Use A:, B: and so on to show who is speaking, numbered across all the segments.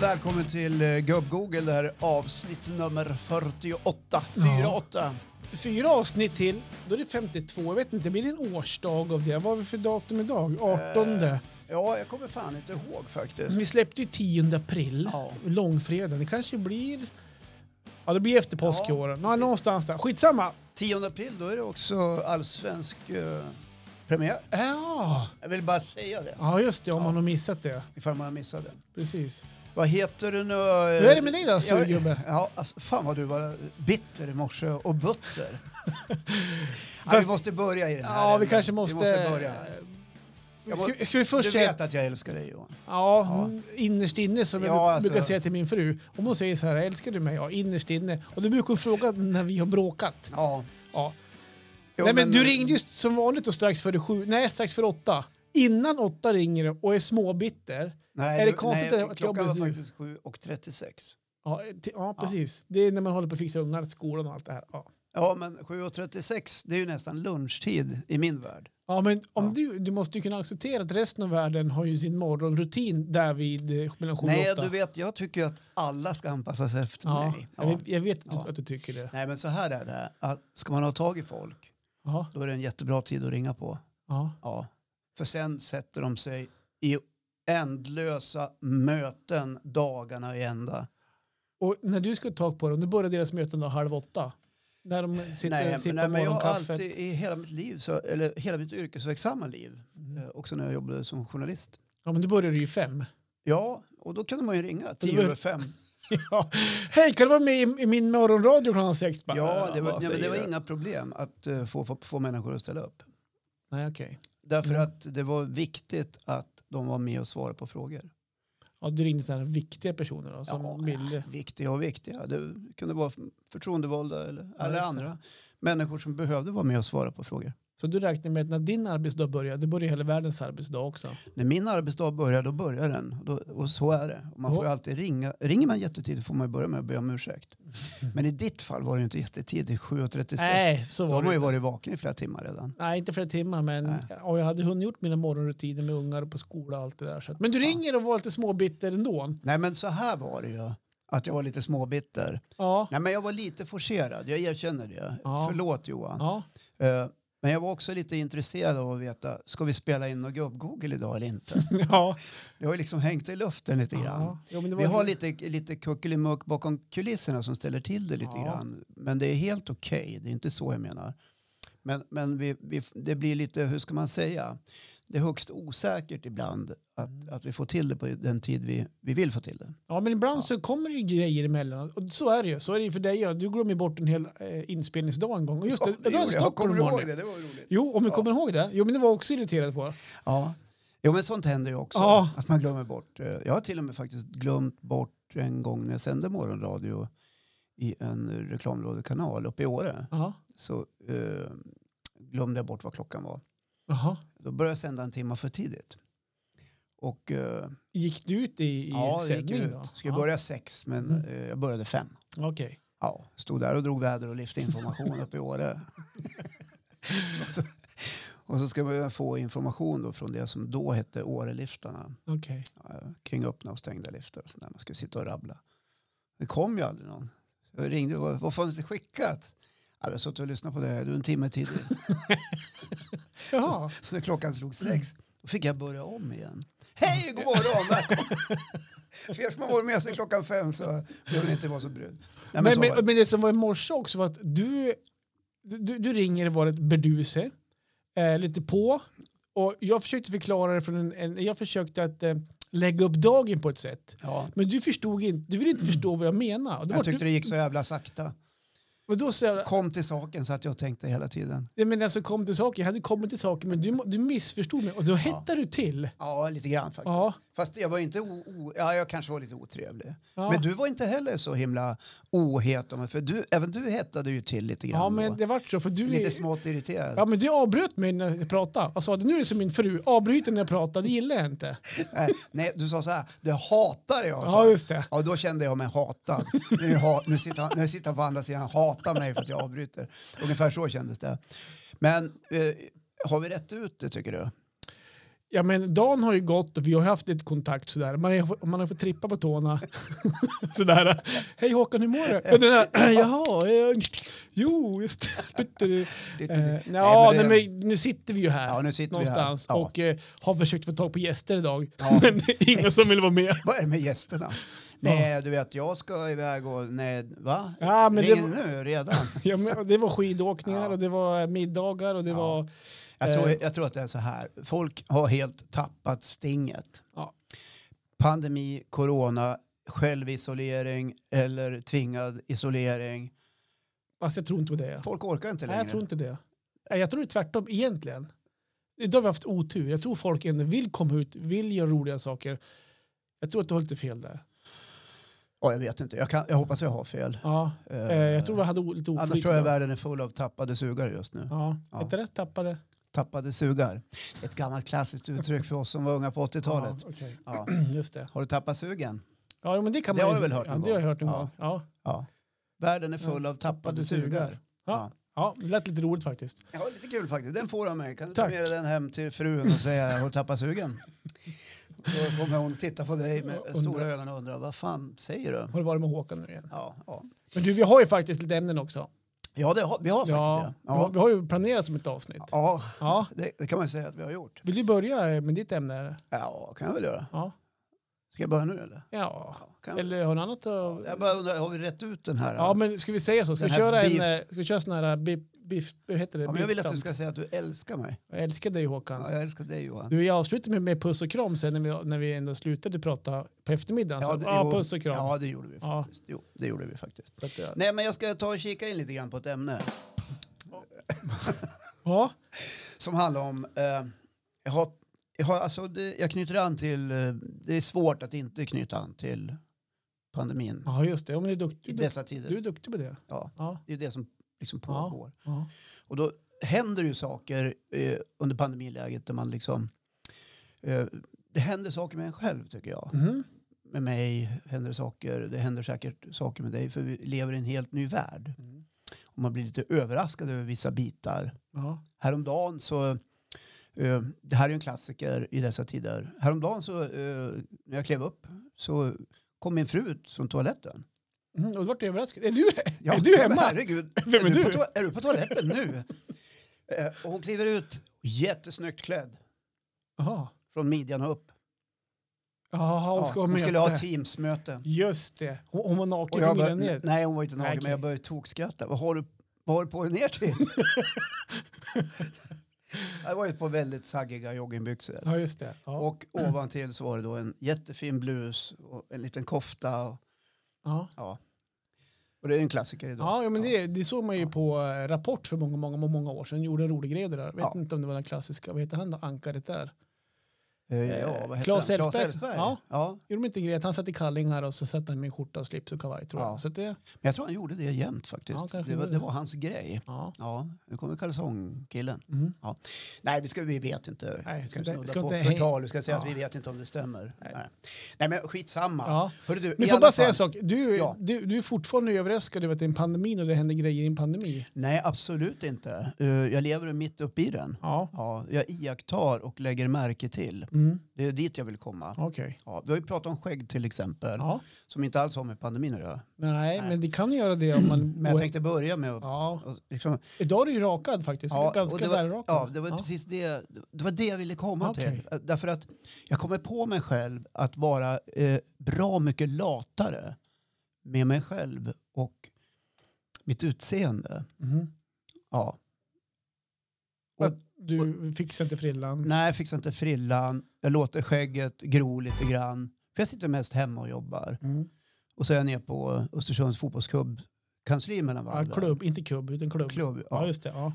A: välkommen till eh, Gubb-Google. Det här är avsnitt nummer 48. 48.
B: Fyra avsnitt till, då är det 52. Jag vet inte, blir det en årsdag av det? Vad har vi för datum idag? 18.
A: Eh, Ja, jag kommer fan inte ihåg faktiskt.
B: Vi släppte ju 10 april,
A: Ja.
B: långfredagen. Det kanske blir... Ja, det blir efter påsk
A: Ja,
B: i år. Nå, någonstans där. Skitsamma.
A: 10 april, då är det också allsvensk eh, premiär.
B: Ja,
A: Jag vill bara säga det,
B: ja just det. Om man har missat det.
A: ifall man har missat det.
B: Precis.
A: Vad heter du nu? eh?
B: Hur är det med dig då, surgubbe?
A: Ja, ja, alltså, fan vad du var bitter i morse och butter. ja, vi
B: Fast-
A: måste börja i den här.
B: Ja, vi
A: änden.
B: kanske
A: Vi måste
B: måste...
A: börja. Jag må-
B: Ska, ska vi
A: Du
B: först säga...
A: vet att jag älskar dig Johan.
B: Ja,
A: Ja.
B: hon- innerst inne som jag
A: Ja,
B: bru-
A: alltså.
B: brukar säga till min fru. Om hon säger så här, älskar du mig? Ja, innerst inne. Och då brukar hon fråga när vi har bråkat.
A: Ja.
B: Ja.
A: Jo,
B: Nej, men, du ringde ju som vanligt då strax före sju, nej strax före åtta. Innan åtta ringer du och är småbitter.
A: Nej,
B: Är det
A: du-
B: konstigt
A: nej,
B: att jag
A: Klockan
B: blir
A: var
B: sur?
A: faktiskt 7.36.
B: Ja, t- ja precis. Det är när man håller på att fixa ungar till skolan och allt det här. Ja,
A: Ja, men 7.36 det är ju nästan lunchtid i min värld.
B: ja men om Du, du måste ju kunna acceptera att resten av världen har ju sin morgonrutin där vid eh, mellan sju
A: Nej,
B: och åtta.
A: du vet, jag tycker ju att alla ska anpassa sig efter
B: ja,
A: mig.
B: jag vet- Jag vet att du-
A: Ja.
B: att du tycker det.
A: Nej, men så här är det. Att ska man ha tag i folk,
B: Ja,
A: då är det en jättebra tid att ringa på.
B: ja.
A: Ja. För sen sätter de sig i ändlösa möten dagarna i ända.
B: Och när du ska ta tag på dem, då börjar deras möten då halv åtta. När de sitter
A: Nej,
B: och
A: men,
B: eh, sippar
A: nej, men jag har
B: morgonkaffet.
A: alltid i hela mitt liv, så, eller hela mitt yrkesverksamma liv,
B: Mm.
A: eh, också när jag jobbade som journalist.
B: Ja, men då börjar du ju fem.
A: Ja, och då kunde man ju ringa tio
B: var-
A: över fem.
B: ja. Hej, kan du vara med i, i min morgonradio klockan sex? Bara, "Ah,
A: Ja, det var,
B: vad
A: nej, men det
B: säger
A: var
B: du?
A: inga problem att eh, få, få, få människor att ställa upp.
B: Nej, okej.
A: Därför
B: Mm.
A: att det var viktigt att de var med och svarade på frågor.
B: Ja, du ringde sådana här viktiga personer då, som
A: Ja,
B: ville...
A: Viktiga och viktiga. Det kunde vara förtroendevalda eller,
B: Ja,
A: eller
B: just det.
A: andra människor som behövde vara med och svara på frågor.
B: Så du räknar med att när din arbetsdag börjar, då börjar hela världens arbetsdag också.
A: När min arbetsdag börjar, då börjar den. Och, då, och så är det. Och man får
B: Ja.
A: ju alltid ringa. Ringer man jättetidigt får man ju börja med att be om ursäkt. Men i ditt fall var det ju inte jättetidigt, 7.36.
B: Mm. Nej, så
A: Då
B: var
A: har man
B: det
A: ju
B: inte.
A: varit vaken i flera timmar redan.
B: Nej, inte flera timmar, men
A: Nej.
B: ja, jag hade hunnit gjort mina morgonrutiner med ungar och på skola och allt det där. Så att, men du ringer och var lite småbitter ändå.
A: Nej, men så här var det ju. Att jag var lite småbitter.
B: Ja.
A: Nej, men jag var lite forcerad, jag erkänner det.
B: Ja.
A: Förlåt Johan.
B: ja.
A: Eh, Men jag var också lite intresserad av att veta, ska vi spela in något gubb-Google idag eller inte?
B: ja.
A: Det har ju liksom hängt i luften lite grann.
B: ja. Jo, men det
A: Vi
B: var-
A: har lite, lite kuckelimuck bakom kulisserna som ställer till det lite
B: Ja.
A: grann. Men det är helt okej, det är inte så jag menar. Men, men vi, vi, det blir lite, hur ska man säga, det är högst osäkert ibland att,
B: Mm.
A: att vi får till det på den tid vi, vi vill få till det.
B: Ja, men ibland så kommer det ju grejer emellan. Och så är det ju. Så är det ju för dig. ja. Du glömmer bort en hel eh, inspelningsdag en gång. Och just det, det, var en
A: Kommer
B: Stockholm
A: du
B: var
A: ihåg
B: det.
A: det? Det var roligt.
B: Jo, om vi kommer ihåg det. Jo, men det var jag också irriterad på.
A: Ja. Jo men sånt händer ju också,
B: Ja.
A: att man glömmer bort. Eh, Jag har till och med faktiskt glömt bort en gång när jag sände morgonradio i en reklamradiokanal uppe i Åre.
B: Jaha.
A: Så eh, glömde jag bort vad klockan var.
B: Jaha.
A: Då började jag sända en timme för tidigt. Och eh,
B: Gick du ut i, i
A: ja, det gick
B: sändning
A: ut.
B: då?
A: Skulle börja sex men eh, jag började fem.
B: Ja. Okej.
A: Ja, stod där och drog väder och lyftinformation uppe i Åre. och, så, och så ska man få information då från det som då hette Åreliftarna.
B: Okej.
A: eh, kring öppna och stängda liftar och sådär. Man skulle sitta och rabbla. Det kom ju aldrig någon. Jag ringde och var- varför har du inte skickat? Ja, Jag satt och lyssnade på det här, du är en timme tidig.
B: Jaha.
A: Så när klockan slog sex, då fick jag börja om igen. Hej, god morgon, välkommen! För er som har varit med sedan klockan fem så behöver ni inte vara så brydd. Nej, men,
B: Men,
A: så
B: men,
A: var det.
B: men det som var i morse också var att du, du, du ringer och var ett berduse, eh, lite på. Och jag försökte förklara det från en, en jag försökte att eh, lägga upp dagen på ett sätt.
A: ja,
B: Men du förstod inte, du ville inte förstå vad jag menade. Och då var
A: Mm. jag tyckte
B: du,
A: det gick så jävla sakta.
B: och då så jag,
A: Kom till saken så att jag tänkte hela tiden.
B: Nej, men alltså kom till saker, jag hade kommit till saker men du, du missförstod mig och då hettade du till.
A: Ja, lite grann faktiskt.
B: Ja.
A: Fast jag var inte o, o, ja, jag kanske var lite otrevlig.
B: Ja.
A: Men du var inte heller så himla ohet om det, för du, även du hettade ju till lite grann.
B: Ja
A: då.
B: men det vart så för du
A: Lite
B: är-
A: smått irriterad.
B: Ja men du avbröt mig när jag pratade och sa nu är det som min fru, avbryter när jag pratar, det gillar jag inte.
A: Nej, Eh, Nej, du sa så här, det hatar jag. sa
B: Ja,
A: du.
B: just det.
A: Ja, då kände jag mig hatad. Nu, ha, nu, sitter, han- nu sitter han på andra sidan och hatar mig för att jag avbryter. Ungefär så kändes det. Men eh, har vi rätt ut det tycker du?
B: Ja men dagen har ju gått och vi har haft lite kontakt sådär. Man, är, man har fått trippa på tårna. sådär. Hej Håkan, hur mår du? Och den där, Jaha, eh, jo just det. Eh, Ja,
A: Nej, men det-
B: nej, men nu sitter vi ju här
A: Ja, nu sitter vi här.
B: någonstans
A: Ja.
B: och eh, har försökt få tag på gäster idag.
A: Ja.
B: Men det är ingen som vill vara med.
A: Vad är det med gästerna? Nej, du vet, jag ska iväg och... Nej, va?
B: Ja, men det
A: Ring
B: var-
A: nu redan.
B: Ja, men, det var skidåkningar
A: Ja.
B: och det var middagar och det
A: Ja.
B: var...
A: Jag tror,
B: Eh.
A: jag tror att det är så här. Folk har helt tappat stinget.
B: Ja.
A: Pandemi, corona, självisolering eller tvingad isolering.
B: Fast jag tror inte på det.
A: Folk orkar inte
B: Nej,
A: längre.
B: jag tror inte det. Nej, jag tror det är tvärtom egentligen. Idag har vi haft otur. Jag tror folk ändå vill komma ut, vill göra roliga saker. Jag tror att du har lite fel där.
A: ja, jag vet inte. Jag, kan, jag hoppas jag har fel.
B: Ja,
A: Eh,
B: eh, jag tror vi hade o- lite oflyt.
A: Annars tror jag
B: idag.
A: världen är full av tappade sugar just nu.
B: Ja,
A: Ja.
B: inte rätt tappade.
A: Tappade sugar. Ett gammalt klassiskt uttryck för oss som var unga på 80-talet.
B: Ja, okej.
A: Ja.
B: Just det.
A: Har du tappat sugen?
B: Ja, jo, men det kan
A: Det
B: man
A: har
B: ju-
A: jag väl hört
B: ja,
A: någon
B: det har jag hört någon
A: gång.
B: gång. Ja.
A: Ja. Världen är full av tappade
B: tappade
A: sugar.
B: sugar. Ja. ja, det lät lite roligt faktiskt.
A: Ja, lite kul faktiskt. Den får du av mig. Kan du ta
B: Tack.
A: med dig den hem till frun och säga har du tappat sugen? Då kommer hon titta på dig med
B: Ja, undrar.
A: stora ögon och undra vad fan säger du?
B: Har det varit med Håkan nu igen?
A: Ja, ja.
B: Men du, vi har ju faktiskt lite ämnen också.
A: ja det har, vi har
B: Ja,
A: faktiskt det.
B: vi har-
A: Ja.
B: vi har ju planerat som ett avsnitt.
A: Ja,
B: Ja,
A: det, det kan man ju säga att vi har gjort.
B: vill du börja med ditt ämne? eller?
A: Ja, kan jag väl göra.
B: Ja.
A: Ska jag börja nu eller?
B: ja.
A: Ja, kan jag.
B: Eller har du annat att...
A: jag bara undrar, har vi rätt ut den här?
B: Ja, men ska vi säga så? Ska
A: Den
B: vi
A: här
B: köra
A: beef-
B: en... eh, Ska vi köra sån här biff... biff hur heter det?
A: Ja, men jag vill att du
B: Beefstamp.
A: ska säga att du älskar mig.
B: Jag älskar dig Håkan.
A: Ja, jag älskar dig Johan.
B: Du, jag avslutar med, med puss och kram sen när vi, när vi ändå slutade prata på eftermiddagen. Ja, så,
A: det-
B: alltså, ja
A: jo.
B: puss och kram.
A: Ja, det gjorde vi
B: Ja.
A: faktiskt. Jo, det gjorde vi faktiskt.
B: Så att, eh, ja.
A: Nej, men jag ska ta och kika in lite grann på ett ämne.
B: ja.
A: som handlar om... Eh, jag, har, jag, har, alltså det, jag knyter an till... Eh, det är svårt att inte knyta an till pandemin
B: ja, just det. Ja, men du,
A: i
B: är duktig, du, är
A: dessa tider.
B: dukt- du är duktig på det.
A: Ja.
B: Ja.
A: Det är det som liksom
B: Ja.
A: pågår.
B: Ja.
A: Och då händer ju saker eh, under pandemiläget där man liksom... Eh, det händer saker med en själv tycker jag.
B: Mhm.
A: Med mig händer saker, det händer säkert saker med dig för vi lever i en helt ny värld.
B: Mm.
A: Och man blir lite överraskad över vissa bitar.
B: Ja.
A: Häromdagen så, eh, det här är ju en klassiker i dessa tider, häromdagen så eh, när jag klev upp så kom min fru ut från toaletten.
B: Mm. Och du vart överraskad. Är du,
A: Ja,
B: är du
A: men
B: hemma?
A: Herregud,
B: Vem är
A: På
B: du?
A: toa- är du på toaletten nu? Eh, och hon kliver ut, jättesnyggt klädd,
B: Jaha.
A: från midjan och upp.
B: Jaha, hon
A: Ja,
B: ska ha
A: hon
B: möte.
A: skulle ha Teams-möte.
B: Just det. Hon, hon var
A: Och
B: naken
A: jag
B: från
A: bör,
B: midjan ner.
A: nej, hon var inte naken,
B: Nej, okej.
A: men jag började tokskratta. Vad har du, vad har du på dig ner till? det var ju ett par väldigt saggiga joggingbyxor.
B: Ja, just det. Ja.
A: Och ovantill så var det då en jättefin blus och en liten kofta. Och,
B: ja.
A: ja. och det är en klassiker idag.
B: Ja, ja, men
A: Ja.
B: det, det såg man ju
A: Ja.
B: på eh, Rapport för många, många, många år sedan. Gjorde en rolig grej det där. Vet
A: Ja.
B: inte om det var den klassiska, vad heter han då, ankaret där?
A: Eh, ja, vad heter
B: Claes
A: han?
B: Elfberg.
A: Ja.
B: Ja.
A: ja,
B: Gjorde de inte en grej att han satt i kallingar och så satt han med skjorta och slips och kavaj tror jag.
A: Ja.
B: Så att det,
A: men jag tror han gjorde det jämt faktiskt.
B: Ja, kanske
A: det, var,
B: det.
A: det var hans grej.
B: ja.
A: Ja, nu kommer kalsongkillen.
B: Mm.
A: Nej, vi, ska, vi vet inte.
B: Nej,
A: vi
B: ska
A: ska
B: inte-
A: snudda
B: ska
A: på
B: inte-
A: förtal. Vi ska säga
B: Ja.
A: att vi vet inte om det stämmer. Nej,
B: Nej.
A: Nej. men skitsamma.
B: Ja.
A: Hörru du,
B: Men
A: i
B: får
A: alla
B: bara säga
A: fall-
B: en sak. Du,
A: Ja.
B: du, du är fortfarande överraskad över att det är en pandemi och det händer grejer i en pandemi.
A: Nej, absolut inte. Eh, jag lever mitt uppe i den.
B: Ja,
A: Ja, jag iakttar och lägger märke till.
B: mm.
A: Det är dit jag vill komma.
B: okej.
A: Ja, vi har ju pratat om skägg till exempel,
B: Ja.
A: som inte alls har med pandemin att göra.
B: Nej,
A: Nej.
B: men det kan ju göra det om man...
A: Men jag tänkte börja med att...
B: Ja,
A: Och liksom,
B: idag är du ju rakad faktiskt.
A: Ja, och det
B: Ganska
A: var-
B: välrakad.
A: ja, det var precis det, det var det jag ville komma
B: Okej.
A: till. Därför att jag kommer på mig själv att vara eh, bra mycket latare med mig själv och mitt utseende.
B: Mhm.
A: Ja.
B: Du fixar inte frillan.
A: Nej, jag fixar inte frillan. Jag låter skägget gro lite grann. För jag sitter mest hemma och jobbar.
B: Mm.
A: Och så är jag ner på Östersunds fotbollsklubb kansli mellan
B: Ja,
A: varven.
B: klubb, inte kubb, utan klubb.
A: Klubb,
B: Ja,
A: ja.
B: just det. Ja.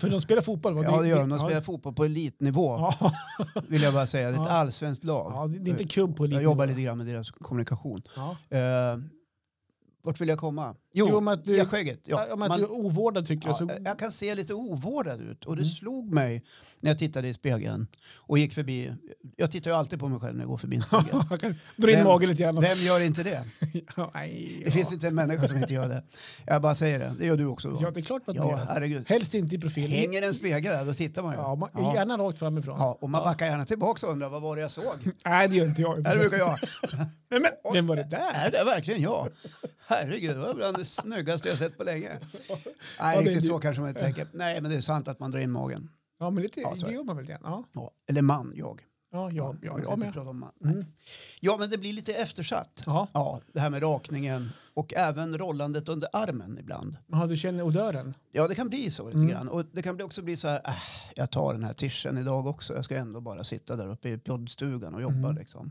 B: För de spelar fotboll, va?
A: Ja, det gör de.
B: ja,
A: De spelar fotboll på elitnivå,
B: Ja,
A: vill jag bara säga. Det är ett
B: Ja.
A: allsvenskt lag. Eh,
B: ja, det det är inte kubb på
A: jag
B: elitnivå.
A: jobbar lite grann med deras kommunikation.
B: Ja.
A: Eh, Vart vill jag komma? Jo,
B: Jo, men att du-
A: ja, skägget. Ja.
B: Om att
A: Man-
B: du är ovårdad tycker jag så... Mm.
A: Ja, jag kan se lite ovårdad ut och det slog mig när jag tittade i spegeln och gick förbi. Jag tittar ju alltid på mig själv när jag går förbi en spegel.
B: Jag kan dra in
A: Vem-
B: magen lite grann.
A: Vem gör inte det?
B: Ja, nej,
A: Det
B: ja.
A: finns inte en människa som inte gör det. Jag bara säger det. Det gör du också.
B: ja,
A: Då.
B: det är klart att
A: Ja,
B: ja, gör.
A: herregud.
B: Helst inte i profil.
A: Hänger en spegel där, då tittar man ju.
B: Ja, man,
A: Ja.
B: Gärna rakt framifrån.
A: Ja, och man backar gärna tillbaka och undrar vad var det jag såg?
B: Nej, det gör inte jag.
A: Ja, Det brukar jag.
B: Men, men, vem var det där?
A: Är det verkligen jag? Herregud, det var bland det snyggaste jag sett på länge. Nej,
B: det är
A: riktigt
B: du.
A: så kanske man inte tänker. Nej, men det är sant att man drar in magen.
B: Ja, men lite,
A: Ja, så är
B: det
A: det.
B: gör man väl lite grann.
A: Ja, eller man, jag.
B: Ja, ja, ja, ja,
A: Man kan
B: jag
A: inte
B: med.
A: prata om man. Nej.
B: Mm.
A: Ja, men det blir lite eftersatt.
B: Ja.
A: Ja, det här med rakningen och även rollandet under armen ibland.
B: Jaha, du känner odören?
A: Ja, det kan bli så lite
B: Mm.
A: grann. Och det kan bli- också bli så här, äh, jag tar den här tischen idag också. Jag ska ändå bara sitta där uppe i poddstugan och jobba
B: Mm.
A: liksom.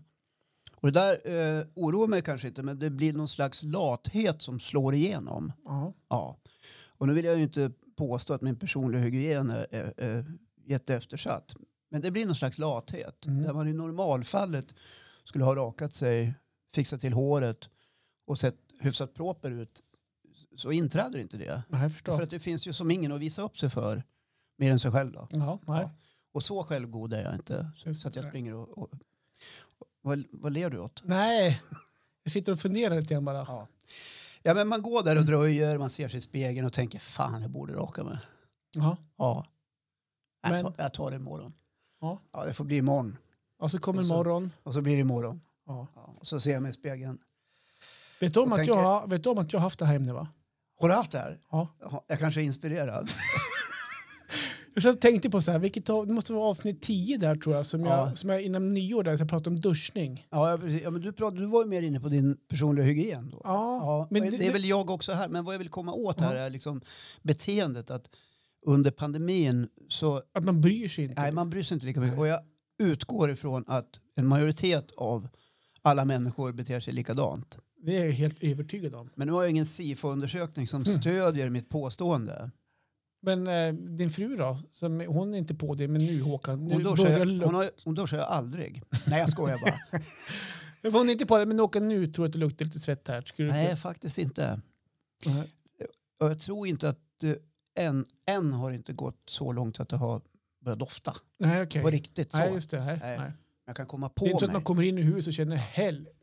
A: Och det där eh, oroar mig kanske inte, men det blir någon slags lathet som slår igenom.
B: Ja.
A: Ja. Och nu vill jag ju inte påstå att min personliga hygien är, är, är jätteeftersatt. Men det blir någon slags lathet.
B: Mm.
A: Där man i normalfallet skulle ha rakat sig, fixat till håret och sett hyfsat proper ut så inträder inte det.
B: Nej, jag förstår.
A: För att det finns ju som ingen att visa upp sig för mer än sig själv då.
B: Ja, nej.
A: Och så självgod är jag inte. Så,
B: Just
A: så att jag
B: det.
A: springer och... och vad, vad ler du åt?
B: nej, jag sitter och funderar lite grann bara.
A: Ja. ja men man går där och dröjer, man ser sig i spegeln och tänker fan jag borde raka mig.
B: Ja.
A: Ja.
B: Men-
A: Jag, tar, jag tar det imorgon.
B: Ja.
A: ja, det får bli imorgon.
B: Och så kommer
A: Och så-
B: morgon.
A: Och så blir det imorgon.
B: Ja.
A: Ja. Och så ser jag mig i spegeln.
B: Vet, du om
A: Och
B: att
A: tänker-
B: jag, har- vet du om att jag har haft det här ämnet va?
A: Har du haft det här?
B: Ja.
A: Jaha, Jag kanske är inspirerad.
B: Jag satt och tänkte på så här, vilket, av- det måste vara avsnitt 10 där tror jag, som,
A: Ja.
B: jag, som jag innan nyår där, jag pratade om duschning.
A: Ja, jag- ja, men du, pratade, du var ju mer inne på din personliga hygien då. Ja,
B: men
A: men det,
B: det-
A: är väl jag också här. Men vad jag vill komma åt här är liksom beteendet att under pandemin så
B: Att man bryr sig inte.
A: nej, man bryr sig inte lika mycket. Och jag utgår ifrån att en majoritet av alla människor beter sig likadant.
B: Det är jag helt övertygad om.
A: Men nu har jag ingen SIFO-undersökning som
B: Hm.
A: stödjer mitt påstående.
B: Men eh, din fru då? Som, hon är inte på det, men nu Håkan, nu
A: Hon duschar,
B: börjar
A: jag, hon,
B: lukta.
A: har, hon duschar jag aldrig. Nej, jag skojar bara.
B: Hon är inte på det, men Håkan, nu tror jag att det luktar lite svett här. Skulle du-
A: Nej, faktiskt inte.
B: Nej.
A: Och jag tror inte att eh, än, än har det inte gått så långt att det har börjat dofta.
B: Nej, okej.
A: På riktigt så.
B: Nej, just det. Nej,
A: Nej.
B: nej.
A: Jag kan komma på
B: Det är inte så att
A: mig.
B: man kommer in i huset och känner helvete,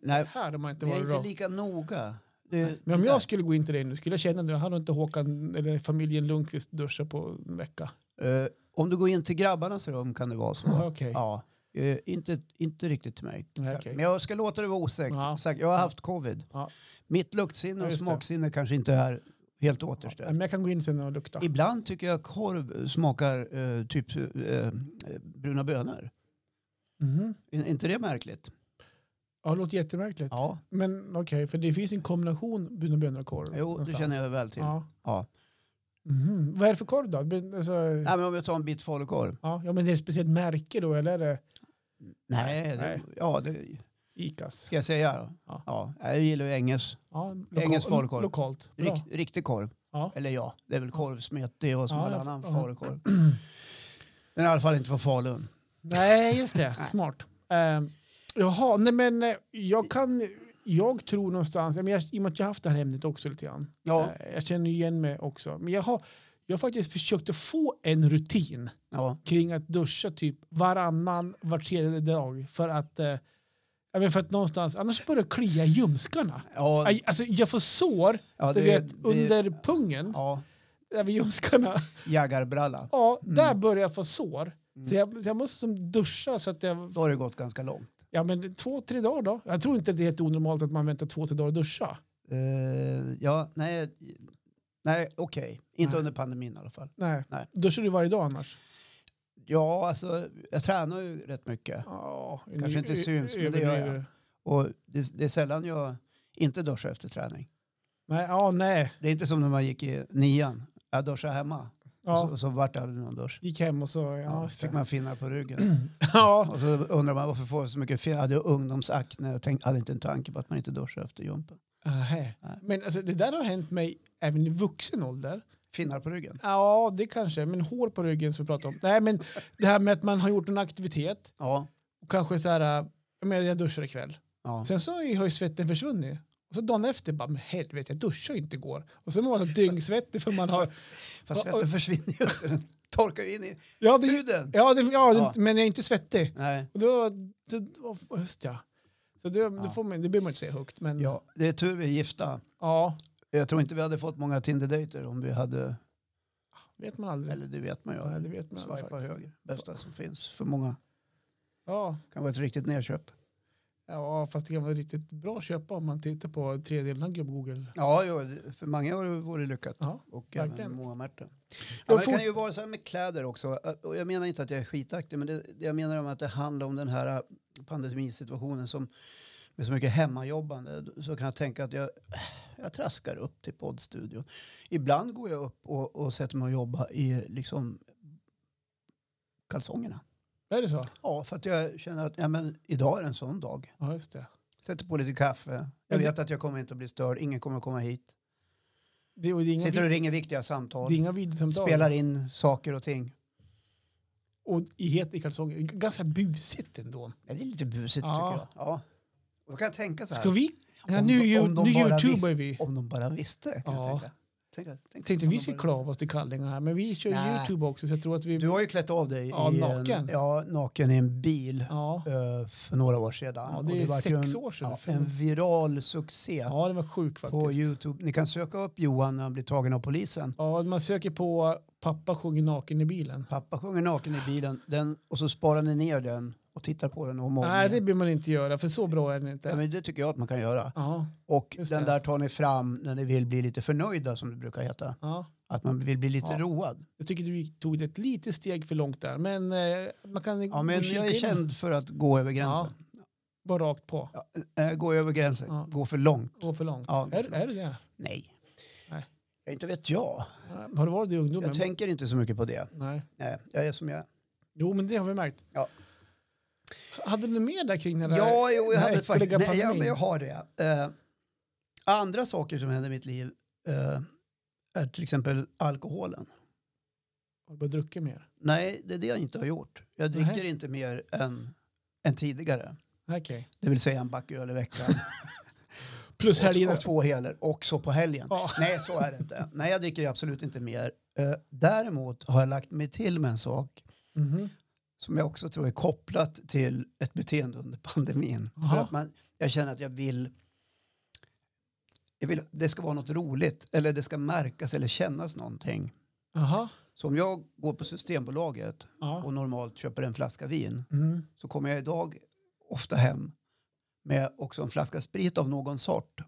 A: Nej.
B: här har man inte
A: Jag är
B: varit
A: inte
B: bra.
A: lika noga. Det,
B: Men om
A: det
B: jag skulle gå in till dig nu, skulle jag känna nu, hade inte Håkan eller familjen Lundqvist duschat på en vecka?
A: där. Eh, om du går in till grabbarnas rum kan det vara så.
B: Ja, Ah, Okej.
A: Ja. Eh, inte, inte riktigt till mig.
B: Nej, okej.
A: Men jag ska låta det vara osagt.
B: Ja.
A: Sagt, Jag har haft covid.
B: Ja.
A: Mitt luktsinne
B: Ja,
A: och
B: just det.
A: smaksinne kanske inte är helt
B: Ja,
A: återställt.
B: men jag kan gå in sen och lukta.
A: Ibland tycker jag korv smakar eh, typ eh, bruna bönor.
B: Mhm.
A: Är inte det märkligt?
B: Ja, det låter jättemärkligt.
A: Ja,
B: Men okej, för det finns en kombination bruna bönor och korv.
A: jo, det
B: någonstans.
A: känner jag väl till. Ja.
B: Ja. Mhm. Vad är det för korv då? Ben- Alltså,
A: Nej, men om jag tar en bit falukorv.
B: ja, ja, men det är ett speciellt märke då, eller är det
A: Nej,
B: Nej.
A: Det, ja, det
B: Icas?
A: ska jag säga. då.
B: Ja.
A: Ja, jag gillar ju Engels.
B: Ja,
A: Engelsk falukorv.
B: Lokalt. Bra.
A: Rikt, riktig korv.
B: Ja.
A: Eller ja, det är väl korvsmet det och som
B: Ja,
A: all
B: jag-
A: annan
B: ja.
A: falukorv. Den är i alla fall inte från Falun.
B: Nej, just det. Smart. Um, jaha, nej men eh, jag kan, jag tror någonstans, ja, men jag, i och med att jag har haft det här ämnet också lite grann.
A: Ja,
B: Eh, Jag känner ju igen mig också. Men jag har, jag har faktiskt försökt att få en rutin
A: ja.
B: kring att duscha typ varannan, var tredje dag för att, eh, ja, men för att någonstans, annars börjar det klia i ljumskarna.
A: ja,
B: Aj, Alltså jag får sår,
A: ja
B: du
A: det-
B: vet,
A: det-
B: under pungen,
A: Ja,
B: där vid ljumskarna.
A: jaggarbralla.
B: Ja, där
A: Mm.
B: börjar jag få sår. Så, jag, så jag måste som duscha så att jag
A: Då har det gått ganska långt.
B: Ja, men två, tre dagar då? Jag tror inte att det är helt onormalt att man väntar två, tre dagar att duscha.
A: Eh, ja, nej, nej okej. Inte
B: Nej.
A: under pandemin i alla fall.
B: Nej.
A: Nej.
B: Duschar du varje dag annars?
A: Ja, alltså jag tränar ju rätt mycket.
B: Ja,
A: Kanske inte syns, men det gör jag. Och det, det är sällan jag inte duschar efter träning.
B: Nej, ja, nej.
A: Det är inte som när man gick i nian. Jag duschade hemma. Och så,
B: Ja,
A: och så vart det aldrig någon dusch.
B: gick hem och så... Ja,
A: Alltså- Ja,
B: just det.
A: fick man finnar på ryggen.
B: ja.
A: Och så undrar man varför får jag så mycket finnar? Jag hade ungdomsakne och tänkte, hade inte en tanke på att man inte duschar efter jumpen.
B: Nähä.
A: Nej.
B: Men alltså, det där har hänt mig även i vuxen ålder.
A: Finnar på ryggen?
B: Ja, det kanske. Men hår på ryggen som vi pratade om. Nej, men det här med att man har gjort en aktivitet
A: Ja.
B: och kanske så här... äh, Jag, menar, jag duschar ikväll.
A: ja.
B: Sen så har ju svetten försvunnit. Och så dagen efter bara, men helvete, jag duschade ju inte igår. Och så mår man så dyngsvettig för man har...
A: Fast
B: Och- och-
A: svetten försvinner ju inte. Den torkar ju in i
B: Ja, det,
A: huden.
B: ja, det, ja,
A: Ja.
B: Det, men jag är inte svettig.
A: Nej.
B: Och då, då, då just ja. Så det, då
A: Ja.
B: får man, det behöver man inte säga högt, men ja.
A: Ja, det är tur vi är gifta. Jag tror inte vi hade fått många Tinder-dejter om vi hade,
B: vet man aldrig.
A: eller det vet man ju,
B: Ja, det vet man aldrig
A: swipa
B: faktiskt.
A: höger. Bästa som finns för många.
B: Ja.
A: Kan vara ett riktigt nedköp.
B: ja, fast det kan vara riktigt bra att köpa om man tittar på tredjedelen av Google.
A: Ja, jo, det- för många har det varit lyckat.
B: Ja,
A: Och
B: verkligen.
A: även Moa Märta.
B: Jag
A: Ja, men
B: får-
A: det kan ju vara så här med kläder också. Och jag menar inte att jag är skitaktig, men det, det jag menar om att det handlar om den här äh, pandemisituationen som med så mycket hemmajobbande så kan jag tänka att jag, äh, jag traskar upp till poddstudion. Ibland går jag upp och, och sätter mig och jobbar i liksom kalsongerna.
B: Är det så?
A: Ja, för att jag känner att ja, men idag är en sån dag.
B: Ja, just det.
A: Sätter på lite kaffe. Jag
B: Men det-
A: vet att jag kommer inte att bli störd. Ingen kommer att komma hit.
B: Det, och det är inga,
A: Sitter och
B: vid-
A: ringer viktiga
B: det är
A: samtal.
B: inga videosamtal.
A: Spelar in saker och ting.
B: Och i het i kalsonger. G- Ganska busigt ändå.
A: Ja, det är lite busigt
B: Ja.
A: tycker jag. Ja. Och då kan jag tänka så här.
B: Ska vi? Ja,
A: Om
B: nu
A: de-
B: ju-
A: om de
B: nu
A: bara
B: youtubar vi.
A: Om de bara visste. Kan
B: Ja.
A: jag tänka. Tänk, tänk,
B: Tänkte
A: om
B: vi
A: de
B: skulle
A: bara-
B: klava oss till kallingar här, men vi kör
A: Nej.
B: YouTube också så jag tror att vi...
A: Du har ju klätt av dig
B: Ja,
A: i
B: naken.
A: En, ja, naken i en bil
B: Ja.
A: eh, för några år sedan.
B: ja,
A: Och
B: det är
A: vart ju
B: sex
A: en,
B: år sedan.
A: Ja, en viral succé
B: Ja, den var
A: på
B: sjuk faktiskt.
A: Youtube. Ni kan söka upp Johan när han blir tagen av polisen.
B: Ja, man söker på pappa sjunger naken i bilen.
A: Pappa sjunger naken i bilen den, och så sparar ni ner den och tittar på den om och om
B: Nej, det
A: igen.
B: behöver man inte göra, för så bra är den
A: ja,
B: inte.
A: men det tycker jag att man kan göra.
B: Ja,
A: Och
B: Just
A: den
B: det.
A: där tar ni fram när ni vill bli lite förnöjda som det brukar heta.
B: ja.
A: Att man vill bli lite
B: Ja.
A: road.
B: Jag tycker du gick- tog det ett litet steg för långt där, men eh, man kan gå
A: Ja,
B: och
A: men
B: kika
A: jag är
B: in.
A: känd för att gå över gränsen.
B: Bara rakt på.
A: Eh, Gå över gränsen,
B: Ja.
A: gå för långt.
B: Gå för långt.
A: Ja,
B: är, är det det?
A: Nej.
B: Nej.
A: Ja, Inte vet jag.
B: Ja, Har du varit det i
A: Jag
B: ungdomen?
A: tänker inte så mycket på det.
B: Nej.
A: Nej, jag är som jag är.
B: Jo, men det har vi märkt.
A: Ja.
B: Hade du mer där kring den där?
A: Ja, jo,
B: den
A: jag
B: här
A: hade faktiskt...
B: äckliga
A: Nej, ja,
B: pandemin?
A: men jag har det. Eh, andra saker som händer i mitt liv eh, är till exempel alkoholen.
B: Har du börjat dricka mer?
A: Nej, det är det jag inte har gjort. Jag dricker
B: Nej.
A: inte mer än, än tidigare.
B: Okej.
A: Det vill säga en backöl i veckan.
B: Plus
A: och,
B: helgerna.
A: och två heler och så på helgen.
B: Ja.
A: Nej, så är det inte. Nej, jag dricker absolut inte mer. Eh, Däremot har jag lagt mig till med en sak
B: Mhm.
A: som jag också tror är kopplat till ett beteende under pandemin.
B: Jaha.
A: För att man, jag känner att jag vill, jag vill, det ska vara något roligt eller det ska märkas eller kännas någonting.
B: Jaha.
A: Så om jag går på Systembolaget
B: Ja.
A: och normalt köper en flaska vin
B: Mm.
A: så kommer jag idag ofta hem med också en flaska sprit av någon sort.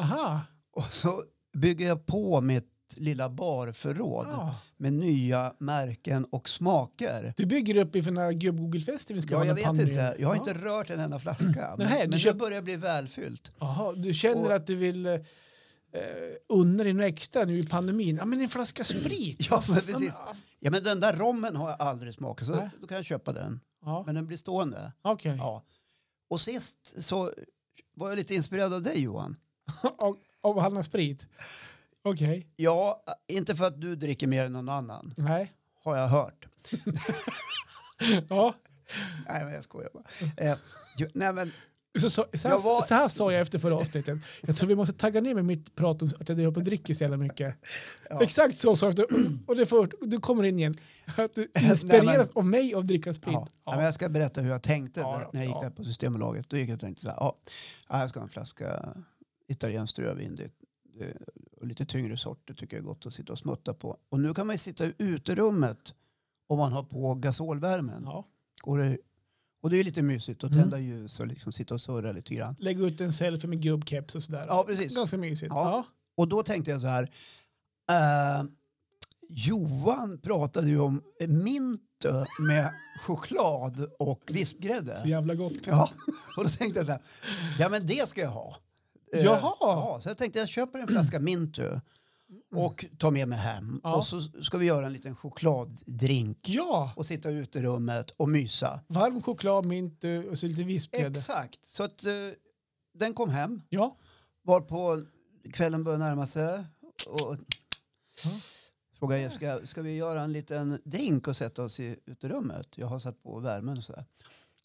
B: Aha.
A: Och så bygger jag på mitt lilla barförråd
B: Ja.
A: med nya märken och smaker.
B: Du bygger upp inför den här gubb-Google-festen vi ska
A: Ja,
B: ha
A: jag
B: med
A: vet
B: pandemin.
A: inte. Jag har
B: Ja.
A: inte rört en enda flaska. Men,
B: Nähä, du
A: men nu
B: köp-
A: börjar jag bli välfyllt.
B: Jaha, du känner
A: Och-
B: att du vill eh, unna dig något extra nu i pandemin. Ja, men en flaska sprit.
A: Ja, men
B: Fan,
A: precis.
B: ja.
A: Ja, men den där rommen har jag aldrig smakat så
B: Nej.
A: då kan jag köpa den.
B: Ja,
A: Men den blir stående.
B: okej.
A: Ja. Och sist så var jag lite inspirerad av dig Johan.
B: Av- Av Hanna Sprit? Okej.
A: Ja, inte för att du dricker mer än någon annan,
B: Nej.
A: har jag hört.
B: Ja.
A: Nej, men jag skojar bara. Eh, ju, nej, men
B: Så, så, så, här,
A: Jag var-
B: så här sa jag efter förra avsnittet. Jag tror vi måste tagga ner med mitt prat om att jag håller på och dricker så jävla mycket.
A: Ja.
B: Exakt så sa jag. efter- Och det först, du kommer in igen. Att du inspireras
A: Nej, men-
B: av mig av att dricka sprit.
A: Ja.
B: Ja.
A: Ja, men jag ska berätta hur jag tänkte
B: Ja,
A: när,
B: då,
A: när jag gick
B: ja.
A: där på Systembolaget. Då gick jag och tänkte så här, ja, ja, jag ska ha en flaska italienskt rödvin. Det, det, och lite tyngre sorter tycker jag är gott att sitta och smutta på. Och nu kan man ju sitta i uterummet om man har på gasolvärmen.
B: Ja.
A: Och, det, och det är ju lite mysigt att
B: Mm.
A: tända ljus och liksom sitta och surra lite grann.
B: Lägg ut en selfie med gubbkeps och sådär.
A: Ja, precis.
B: Ganska mysigt.
A: Ja.
B: Ja.
A: Och då tänkte jag så här, eh, Johan pratade ju om Minto med choklad och vispgrädde.
B: Så jävla gott.
A: Ja, och då tänkte jag så här, ja men det ska jag ha. Eh,
B: Jaha.
A: Ja, så jag tänkte jag köper en flaska Mintu och tar med mig hem
B: Ja.
A: och så ska vi göra en liten chokladdrink
B: Ja,
A: och sitta ute i rummet och mysa.
B: varm choklad, mint eh, och så lite vispgrädde.
A: Exakt, så att eh, den kom hem,
B: Ja,
A: var på kvällen började närma sig och
B: Ja.
A: frågade Jessica, ska vi göra en liten drink och sätta oss i uterummet? Jag har satt på värmen och sådär.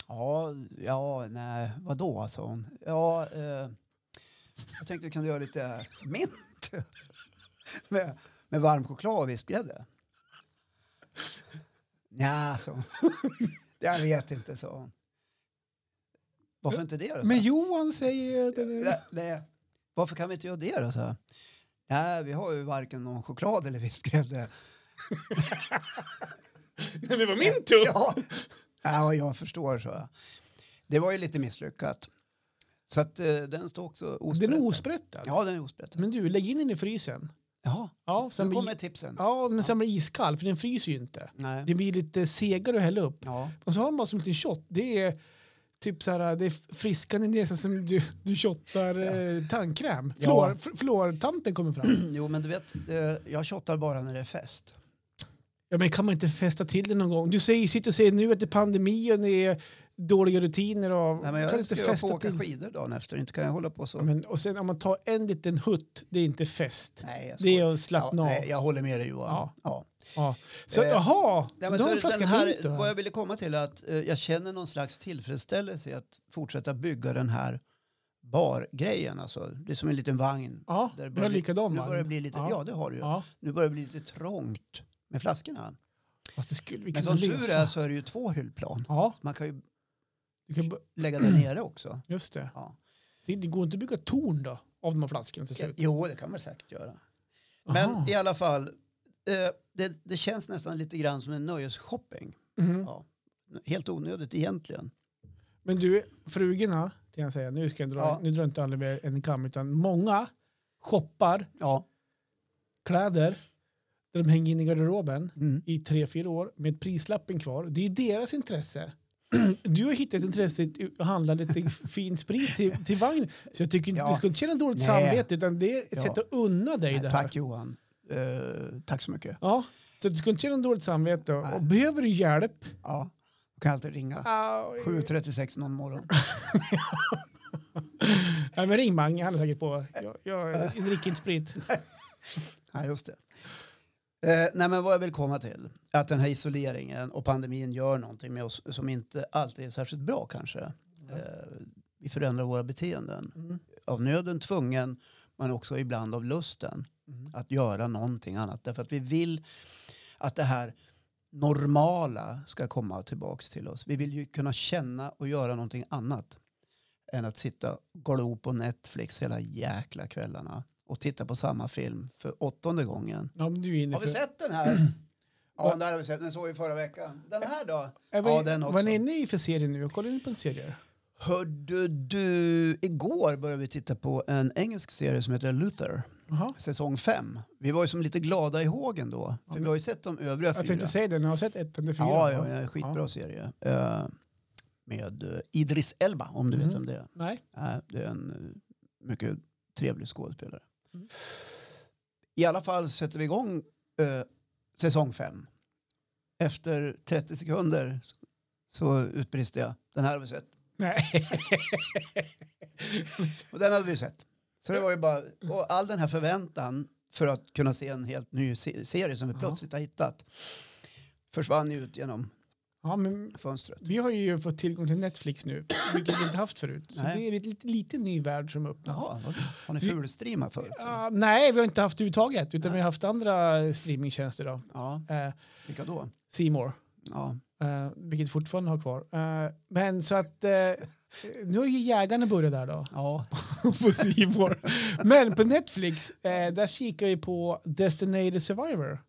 A: Ja, ja, nej, vadå, sa hon. Ja, eh, Jag tänkte vi kunde göra lite mint med, med varm choklad och vispgrädde. Nja, så. Jag vet inte, så. hon. Varför inte det då? sa jag.
B: Men Johan säger att den är...
A: Nej, nej. Varför kan vi inte göra det då? Så här. Nej, vi har ju varken någon choklad eller vispgrädde.
B: Nej, det var min tur!
A: Ja. ja, jag förstår, så. jag. Det var ju lite misslyckat. Så att eh, den står också osprättad.
B: Den är osprättad.
A: Ja, den är osprättad.
B: Men du, lägg in den i frysen.
A: Jaha,
B: Ja,
A: sen
B: sen blir,
A: kommer tipsen.
B: ja men sen blir det iskall, för den fryser ju inte.
A: Nej.
B: Det blir lite segare att hälla upp.
A: Ja.
B: Och så har de bara som en liten shot. Det är typ så här, det är friskan i näsan som du, du shottar eh, tandkräm.
A: Ja.
B: Flår, f- Flårtanten kommer fram.
A: Jo, men du vet, eh, jag tjottar bara när det är fest.
B: Ja, men kan man inte festa till det någon gång? Du säger, sitter och säger nu att det är pandemi och det är dåliga rutiner. Och,
A: Nej, men
B: kan du
A: jag
B: inte
A: ska jag få
B: festa
A: åka
B: till?
A: skidor dagen efter, inte kan jag hålla på så.
B: Ja, men, och sen om man tar en liten hutt, det är inte fest.
A: nej, jag
B: det
A: skojar.
B: är att slappna
A: ja,
B: av.
A: nej, jag håller med dig Johan.
B: Ja.
A: Ja.
B: Ja. Så
A: Eh,
B: jaha,
A: Nej, men
B: så du
A: så
B: har en
A: är det
B: flaska
A: den
B: vin
A: här,
B: då?
A: vad jag ville komma till är att eh, jag känner någon slags tillfredsställelse i att fortsätta bygga den här bargrejen. Alltså, det är som en liten vagn.
B: Ja,
A: Där
B: du har
A: bli-
B: likadan
A: nu börjar det
B: vagn.
A: bli lite,
B: Ja.
A: ja. det har du ju.
B: Ja.
A: Nu börjar det bli lite trångt med flaskorna.
B: Fast det skulle vi
A: Men
B: kunna
A: som
B: lösa.
A: tur är så är det ju två hyllplan.
B: Ja,
A: Man kan ju
B: du kan, bo-
A: lägga den nere också.
B: just det.
A: Ja.
B: det. Det går inte att bygga torn då, av de här flaskorna till slut.
A: Jo, det kan man säkert göra. Men
B: Aha.
A: i alla fall, eh, det, det känns nästan lite grann som en nöjesshopping.
B: Mhm.
A: Ja. Helt onödigt egentligen.
B: Men du, frugorna, kan jag säga, nu, ska jag dra,
A: Ja.
B: nu drar inte alla över en kam, utan många shoppar
A: Ja.
B: kläder där de hänger in i garderoben
A: Mm.
B: i tre, fyra år med prislappen kvar. Det är deras intresse. Du har hittat intresset att handla lite fin sprit till, till vagn. Så jag tycker inte
A: Ja.
B: du ska inte känna dåligt
A: Nej.
B: samvete utan det är ett
A: Ja.
B: sätt att unna dig det
A: Nej,
B: här.
A: tack Johan. Eh, tack så mycket.
B: Ja. Så du ska inte känna dåligt samvete.
A: Nej.
B: Och behöver du hjälp?
A: Ja. Du kan alltid ringa.
B: Au.
A: 7.36 någon morgon.
B: Nej, men ring Mange, han är säkert på. Jag, jag, jag dricker inte sprit.
A: Nej, just det. Eh, nej, men vad jag vill komma till, att den här isoleringen och pandemin gör någonting med oss som inte alltid är särskilt bra kanske. Eh, vi förändrar våra beteenden.
B: Mm.
A: Av nöden tvungen, men också ibland av lusten
B: Mm.
A: att göra någonting annat. Därför att vi vill att det här normala ska komma tillbaks till oss. Vi vill ju kunna känna och göra någonting annat än att sitta och glo på Netflix hela jäkla kvällarna och titta på samma film för åttonde gången.
B: Ja, men du är inne
A: Har vi
B: för...
A: sett den här? Ja, den där har vi sett. Den såg vi förra veckan. Den här då?
B: Är vi,
A: Ja, den också.
B: Vad är ni inne i för serie nu? Kollar ni på en serie?
A: Hörde du, igår började vi titta på en engelsk serie som heter Luther,
B: Jaha.
A: säsong 5. Vi var ju som lite glada i hågen då, för vi har ju sett de övriga
B: Jag
A: fyra.
B: tänkte säga det, ni har sett ett eller fyra?
A: Ja,
B: va?
A: ja, ja, skitbra serie. Eh, med eh, Idris Elba, om du
B: Mm.
A: vet vem det är.
B: Nej.
A: Nej, Äh, det är en eh, mycket trevlig skådespelare.
B: Mm.
A: I alla fall sätter vi igång eh, säsong fem. Efter 30 sekunder så utbrister jag. Den här har vi sett.
B: Nej.
A: Och den hade vi sett. Så det var ju bara, och all den här förväntan för att kunna se en helt ny se- serie som vi
B: Ja.
A: plötsligt har hittat försvann ju ut genom
B: ja, men
A: fönstret.
B: vi har ju fått tillgång till Netflix nu, vilket vi inte haft förut. Så
A: Nej.
B: det är en lite, lite ny värld som öppnas.
A: Jaha, Alltså, vad- har ni fulstreamat förut?
B: Ah, nej, vi har inte haft det överhuvudtaget, utan
A: Nej.
B: vi har haft andra streamingtjänster. Då.
A: Ja,
B: Eh,
A: vilka då?
B: C More,
A: Ja,
B: eh, vilket fortfarande har kvar. Eh, men så att eh, nu har ju jägarna börjat där då.
A: ja.
B: på C More. Men på Netflix, eh, där kikar vi på Designated Survivor.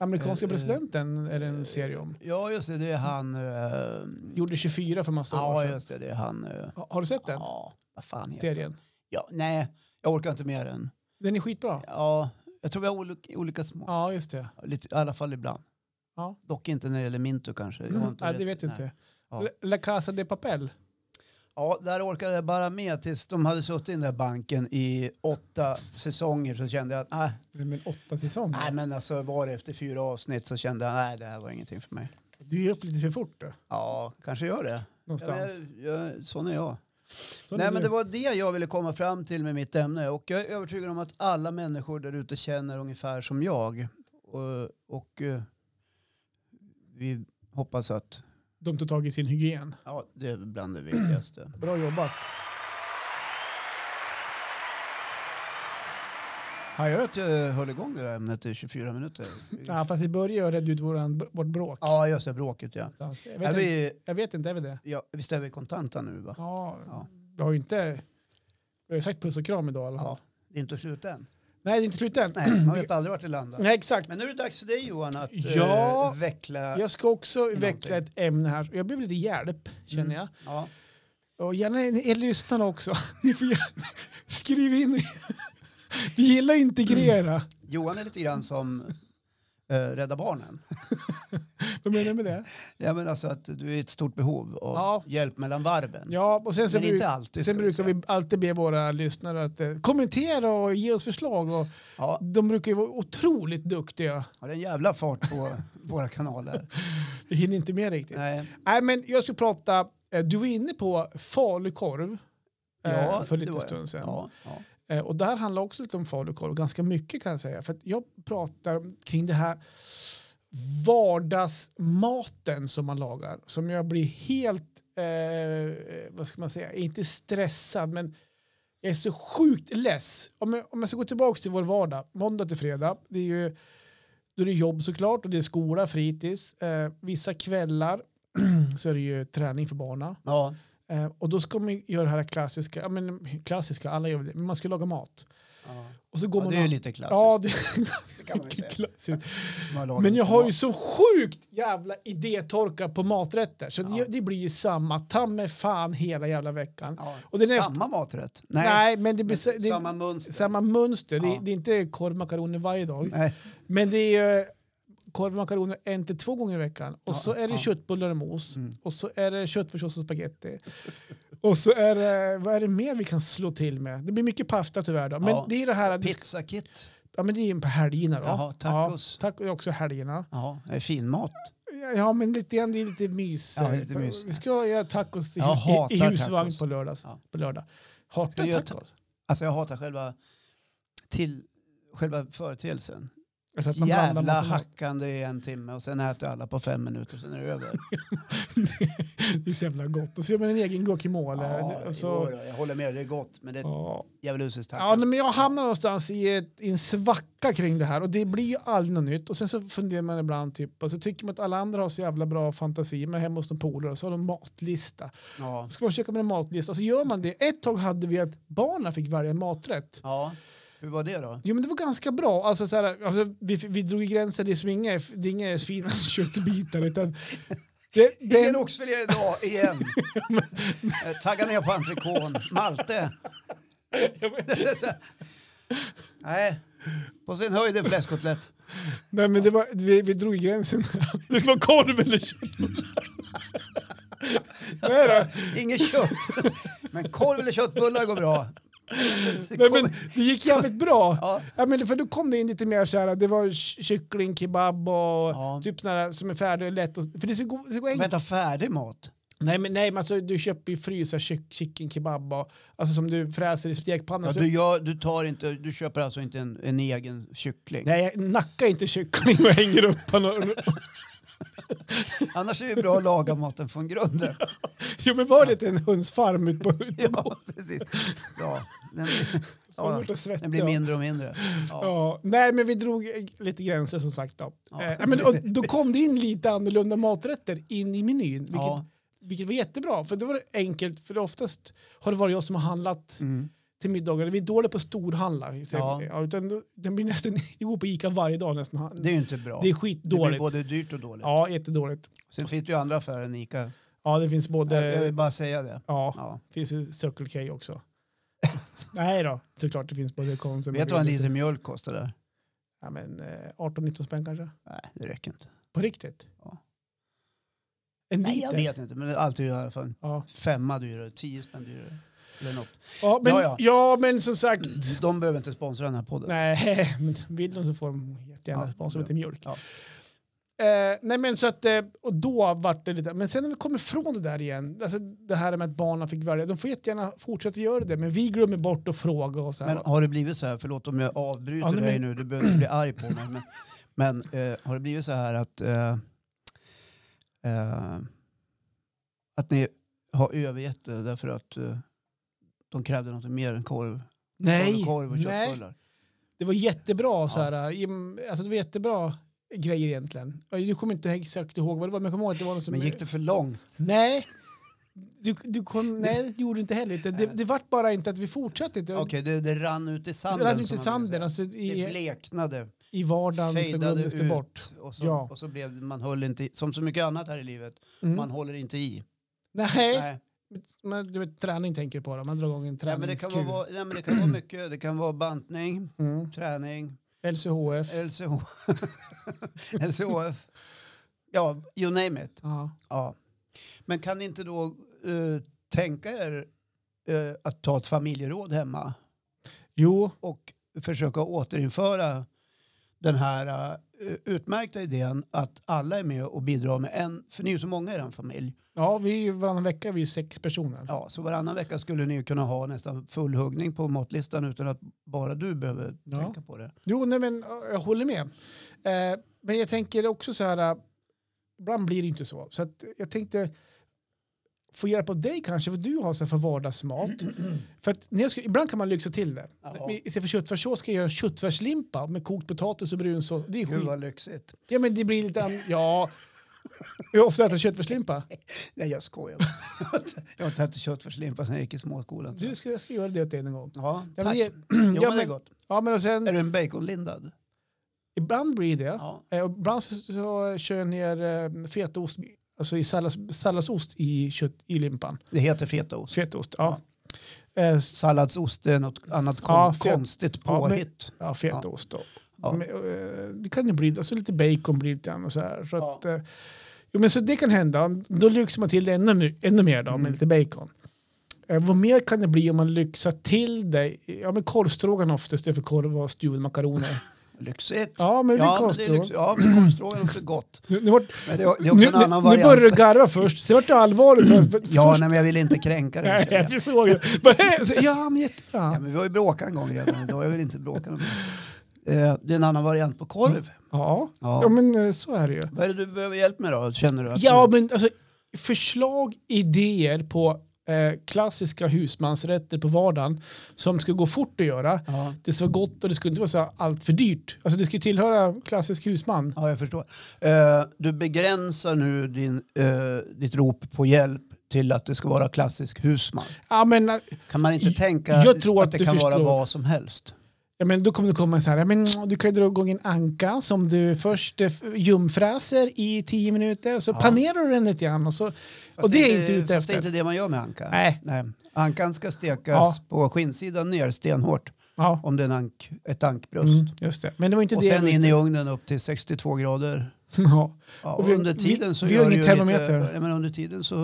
B: Amerikanska
A: Eh, eh,
B: presidenten är det en serie om.
A: ja just det, det är han... eh,
B: Gjorde 24 för massa år
A: ja,
B: sedan.
A: just det, det är han... eh,
B: Ha- Har du sett den
A: Ja, vad fan heter
B: serien?
A: Ja, nej, jag orkar inte med den.
B: Den är skitbra.
A: Ja, jag tror vi har olika, olika små.
B: Ja, just det.
A: Lite, I alla fall ibland.
B: Ja.
A: Dock inte när det gäller Minto kanske. Jag har inte
B: Ja,
A: rätt-
B: det vet jag
A: nej.
B: inte.
A: Ja.
B: La- La Casa de Papel.
A: Ja, där orkade jag bara med tills de hade suttit i den där banken i åtta säsonger så kände jag att nej,
B: Det är med åtta säsonger.
A: nej men alltså var det efter fyra avsnitt så kände jag nej det här var ingenting för mig.
B: Du är upp lite för fort då.
A: Ja, kanske gör det. Jag,
B: Någonstans.
A: jag, jag, sån är jag.
B: Så
A: Nej,
B: är
A: men
B: du.
A: det var det jag ville komma fram till med mitt ämne och jag är övertygad om att alla människor där ute känner ungefär som jag. Och, och eh, vi hoppas att
B: De tog tag i sin hygien.
A: Mm. ja, det är bland det viktigaste.
B: Bra jobbat.
A: Han gör att jag höll igång det där ämnet i 24 minuter.
B: Ja, fast i början redde ut våran, vårt bråk.
A: Ja, just det, bråket ja.
B: Så alltså, Jag, vet
A: Är
B: inte,
A: vi,
B: jag vet inte, är vi det?
A: ja. Visst är vi kontanta nu va?
B: Ja,
A: Ja.
B: vi har ju inte... Vi har ju sagt puss och kram idag. Eller?
A: Ja. Det är inte slut än.
B: Nej, det är inte slut än.
A: Nej, man vet aldrig vart det landar.
B: Nej, exakt.
A: Men nu är det dags för dig Johan att
B: Ja.
A: eh, veckla.
B: Jag ska också
A: Någonting. Mm.
B: veckla ett ämne här. Jag behöver lite hjälp, känner jag.
A: Ja.
B: Och gärna er lyssnare också. Ni får gärna skriva in. Vi gillar att integrera.
A: Johan är lite grann som eh, Rädda Barnen.
B: Vad menar du med det?
A: Ja, men alltså att du är i ett stort behov av
B: Ja.
A: hjälp mellan varven.
B: Ja, och sen, så
A: men
B: bruk,
A: inte alltid. liksom.
B: sen
A: ska vi
B: brukar
A: säga.
B: vi alltid be våra lyssnare att eh, kommentera och ge oss förslag. Och
A: Ja,
B: de brukar ju vara otroligt duktiga.
A: har en jävla fart på våra kanaler.
B: Vi hinner inte med riktigt. Nej.
A: Nej.
B: men jag ska prata, eh, du var inne på falukorv eh,
A: Ja,
B: för
A: det
B: lite
A: var jag.
B: stund sedan.
A: Ja, ja.
B: Eh, Och där handlar också lite om falukorv, ganska mycket kan jag säga. För att jag pratar kring det här vardagsmaten som man lagar. Som jag blir helt, eh, vad ska man säga, inte stressad men jag är så sjukt less. Om jag, om jag ska gå tillbaka till vår vardag, måndag till fredag, det är ju då är det jobb såklart och det är skola, fritids. Eh, vissa kvällar så är det ju träning för barna.
A: ja.
B: Eh, och då ska man göra det här klassiska, ja, men, klassiska, alla gör det, men man ska laga mat.
A: ja.
B: Och så går
A: ja
B: man
A: det är ju
B: och-
A: lite klassiskt.
B: Ja,
A: Det kan man
B: det
A: ju säga.
B: klassiskt.
A: Man lagar
B: Men jag
A: lite
B: har ju
A: mat.
B: så sjukt jävla idétorka på maträtter. Så
A: Ja.
B: det, det blir ju samma, ta med fan hela jävla veckan.
A: Ja.
B: och den är-
A: Samma maträtt?
B: Nej,
A: Nej, men
B: men det blir sa- det,
A: samma
B: samma,
A: mönster.
B: mönster. Det,
A: Ja.
B: det är inte korv makaroner varje dag.
A: Nej.
B: Men det är ju korv makaroner en till två gånger i veckan. Och
A: Ja,
B: så är det
A: ja. Mm.
B: köttbullar och mos. Och så är det köttfärssås och spagetti. och så är det, vad är det mer vi kan slå till med? Det blir mycket pasta tyvärr då. Men
A: Ja.
B: det är det här, att vi ska-
A: Pizzakit?
B: ja men det är ju på helgerna då.
A: Jaha, tacos.
B: Ja, tack, också helgerna.
A: Ja, det är finmat.
B: Ja, men lite grann, det är lite mys. eh,
A: Ja, lite mys.
B: Vi ska göra tacos i,
A: Jag
B: i,
A: hatar
B: i husvagn
A: tacos.
B: på lördags.
A: Ja.
B: På lördag.
A: Ska
B: Hatar
A: vi göra
B: tacos.
A: Alltså jag hatar själva, till, själva företeelsen.
B: Alltså att man blandar
A: Jävla
B: massa mat.
A: hackande i en timme och sen äter alla på fem minuter sen är det över.
B: Det är så jävla gott. Och så gör man en egen guacamole.
A: Ja,
B: Och så-
A: jo då, jag håller med, det är gott men det är ett
B: Alltså- ja.
A: djävulusiskt
B: Ja,
A: hackande.
B: nej, men jag hamnar någonstans i, ett, i en svacka kring det här och det blir ju aldrig något nytt. Och sen så funderar man ibland typ, och så tycker man att alla andra har så jävla bra fantasi, men hemma hos någon polare och så har de matlista.
A: Ja,
B: Ska man försöka med en matlista och så gör man det. Ett tag hade vi att barnen fick välja en maträtt.
A: ja. Hur var det då?
B: Jo men det var ganska bra. Alltså, så här, alltså, vi, vi drog i gränsen, det är som inga, det är inga svina köttbitar utan det, det,
A: Ingen oxfilé idag igen. Eh, Tagga ner på entrecôten. Malte. Nej, på sin höjd en fläskkotlett.
B: Nej men det var, vi, vi drog i gränsen. Det ska vara korv eller köttbullar. Nej, då.
A: Inget kött. Men korv eller köttbullar går bra.
B: Nej, men det gick jävligt bra. Ja.
A: Ja,
B: men för då kom det in lite mer så här, det var ky- kyckling, kebab och
A: Ja.
B: typ sådana där som är färdiga och lätt. Och, för det ska gå, det ska gå enkelt.
A: vänta, färdig mat?
B: Nej men, nej, men alltså, du köper ju frysa kyck, kyckling, kebab och, alltså som du fräser i stekpannan.
A: Ja,
B: så,
A: du, gör, du, tar inte, du köper alltså inte en, en egen kyckling?
B: Nej, jag nackar inte kyckling och hänger upp på någon.
A: Annars är det bra att laga maten från grunden.
B: Jo men var det inte en hundsfarm ute på ute på-
A: Ja, precis. Ja, den,
B: Man
A: ja,
B: blir så svettig
A: den blir
B: av.
A: mindre och mindre. Ja.
B: Ja, nej men vi drog eh, lite gränser som sagt då.
A: Ja.
B: Eh, men, och, då kom det in lite annorlunda maträtter in i menyn, vilket,
A: Ja.
B: vilket var jättebra. För då var det enkelt, för oftast har det varit jag som har handlat
A: Mm.
B: till middagar. Vi är dåliga på storhandla.
A: Ja.
B: Ja. Ja, utan då, den blir nästan, jag går på Ica varje dag nästan.
A: Det är ju inte bra.
B: det är
A: det blir
B: skitdåligt.
A: både dyrt och dåligt.
B: Ja, jättedåligt.
A: Sen finns det ju andra affärer än Ica.
B: Ja, det finns
A: Jag vill
B: både...
A: bara säga det.
B: Ja,
A: Ja.
B: finns ju Circle K också. Nej då, såklart det finns både Konsum
A: Vet du vad en liter mjölk kostar där?
B: Ja, men eh, 18-19 spänn kanske.
A: Nej, det räcker inte.
B: På riktigt?
A: Ja.
B: En
A: Nej, jag
B: liter?
A: vet inte. Men det är alltid i alla fall
B: Ja.
A: femma dyrare, tio spänn dyrare. Eller något.
B: Ja, men,
A: Ja,
B: ja,
A: ja.
B: men som sagt.
A: De behöver inte sponsra den här podden.
B: Nej, men vill de så får de jättegärna
A: Ja,
B: sponsra
A: ja.
B: med till mjölk.
A: Ja.
B: Eh, nej men så att, eh, och då vart det lite, men sen när vi kommer ifrån det där igen, alltså det här med att barnen fick välja, de får jättegärna fortsätta göra det, men vi glömmer bort att fråga och så här.
A: Men har det blivit så här, förlåt om jag avbryter
B: Ja, nej,
A: dig
B: men-
A: nu, du behöver inte bli arg på mig. Men, men eh, har det blivit så här att, eh, eh, att ni har övergett det därför att eh, de krävde något mer än korv, korv, korv och
B: nej,
A: köttbullar?
B: Det var jättebra så här, im- alltså det var jättebra grejer egentligen. Och Jag kommer inte exakt ihåg vad det var, men jag kommer ihåg att det var något som...
A: Men gick det för långt?
B: Nej, du, du kom, nej, det gjorde du inte heller. Det, det, det vart bara inte att vi fortsatte inte.
A: Okej, det, det rann ut i
B: Så
A: sanden.
B: det rann ut
A: som man
B: i
A: brukar
B: sanden,
A: säga.
B: alltså
A: Det
B: i,
A: bleknade,
B: i vardagen så
A: fejdade
B: glömdes
A: ut.
B: det bort.
A: Och så,
B: Ja.
A: och så blev man höll inte i, som så mycket annat här i livet,
B: Mm.
A: man håller inte i.
B: nej,
A: Nej.
B: Men, du vet, träning tänker du på då, man drar igång en
A: Nej, men det
B: träningskur.
A: kan vara- vara, nej, men det kan vara mycket, det kan vara bantning,
B: mm.
A: träning,
B: LCHF.
A: LCH, LCHF, ja, you name it.
B: Ja.
A: Ja. Men kan ni inte då eh, tänka er eh, att ta ett familjeråd hemma
B: Jo,
A: och försöka återinföra den här eh, utmärkta idén att alla är med och bidrar med en, för ni är ju så många i den familj.
B: ja, vi är ju, varannan vecka är vi ju sex personer.
A: Ja, så varannan vecka skulle ni ju kunna ha nästan full huggning på matlistan utan att bara du behöver
B: Ja.
A: tänka på det.
B: Jo, nej, men ja, jag håller med. Eh, men jag tänker också så här, eh, ibland blir det inte så. Så att jag tänkte få hjälp av dig kanske, vad du har så här för vardagsmat. för att när jag ska, ibland kan man lyxa till det.
A: Jaha.
B: Men Istället för köttfärssås ska jag göra en köttfärslimpa med kokt potatis och brunsås. Det är
A: Gud
B: skit.
A: vad lyxigt.
B: Ja, men det blir lite... an- Ja. Hur ofta äter du köttfärslimpa?
A: Nej, jag skojar. jag har inte ätit köttfärslimpa sedan jag gick i småskolan.
B: Du ska, jag ska göra det åt dig en gång.
A: Ja,
B: Ja,
A: tack.
B: men
A: Jo,
B: det-
A: men
B: ja,
A: det är
B: men-
A: gott.
B: Ja, men och sen,
A: Är du en baconlindad?
B: ibland blir det.
A: Ja.
B: Eh, och Ibland så, så kör jag ner eh, fetaost, alltså i sallas, salladsost i, kött, i limpan.
A: Det heter fetaost.
B: Fetaost, ja. Eh, s-
A: Salladsost är något annat kon-
B: Ja, fet-
A: konstigt
B: ja, men-
A: påhitt.
B: ja, fetaost då.
A: Ja.
B: Men, eh, det kan ju bli, alltså lite bacon blir det lite grann och så här. Så
A: Ja.
B: att, eh, jo, men så det kan hända. Då lyxar man till det ännu, mer- ännu mer då,
A: Mm.
B: med lite bacon. Eh, vad mer kan det bli om man lyxar till det? Ja, men korvstroganoff istället för korv och stuvade makaroner.
A: Lyxigt.
B: Ja, men det blir
A: Ja, men det är
B: korvstroganoff.
A: lyxigt. Ja, men korvstroganoff är också gott.
B: Nu, nu, vart-
A: Men det, det är också
B: nu,
A: en annan
B: nu, nu började du
A: variant.
B: garva först, sen vart du allvarlig. Så, för,
A: Ja,
B: först,
A: nej, men jag vill inte kränka dig.
B: nej,
A: Kjell.
B: jag såg det. Bara, så, Ja, men
A: Ja,
B: jättebra.
A: men vi har ju bråkat en gång redan idag. Jag vill inte bråka någon mer. Eh, Det är en annan variant på
B: Mm.
A: korv.
B: Ja,
A: Ja.
B: ja men eh, så är det ju.
A: Vad är det du behöver hjälp med då? Känner du att
B: Ja,
A: du...
B: men alltså förslag, idéer på eh, klassiska husmansrätter på vardagen som ska gå fort att göra.
A: Ja.
B: Det ska vara gott och det ska inte vara så här allt för dyrt. Alltså det ska ju tillhöra klassisk husman.
A: ja, jag förstår. Eh, Du begränsar nu din, eh, ditt rop på hjälp till att det ska vara klassisk husman.
B: Ja, men, eh,
A: Kan man inte
B: Jag
A: tänka
B: tror att
A: det
B: du
A: kan vara
B: förstår.
A: vad som helst?
B: Ja, men då kommer det komma så här, ja, men du kan ju dra igång en anka som du först eh, ljumfräser i tio minuter, så panerar du den lite grann och, så, och
A: Fast
B: det är inte ute
A: fast
B: efter.
A: det är inte det man gör med anka.
B: Nej.
A: Ankan ska stekas
B: Ja.
A: på skinnsidan ner stenhårt
B: Ja,
A: om det är en ank, ett ankbröst.
B: mm, just det. Men det var inte
A: Och
B: det.
A: sen
B: vi-
A: in i ugnen upp till 62 grader.
B: ja.
A: Ja,
B: Och
A: och
B: vi-
A: under tiden så
B: vi- vi
A: gör
B: har
A: du
B: ingen
A: ju
B: termometer.
A: Lite, ja, men under tiden så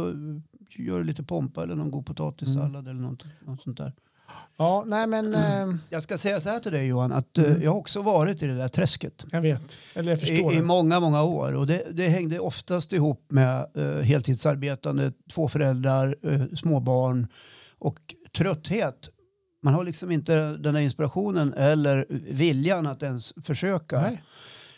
A: gör du lite pompa eller någon god potatissallad
B: Mm.
A: eller något, något sånt där.
B: ja, nej men eh,
A: Jag ska säga så här till dig Johan, att eh, jag har också varit i det där träsket.
B: jag vet. Eller jag Mm. förstår.
A: I, I
B: det.
A: många, många år. Och det, det hängde oftast ihop med eh, heltidsarbetande, två föräldrar, eh, småbarn och trötthet. Man har liksom inte den där inspirationen eller viljan att ens försöka
B: Nej.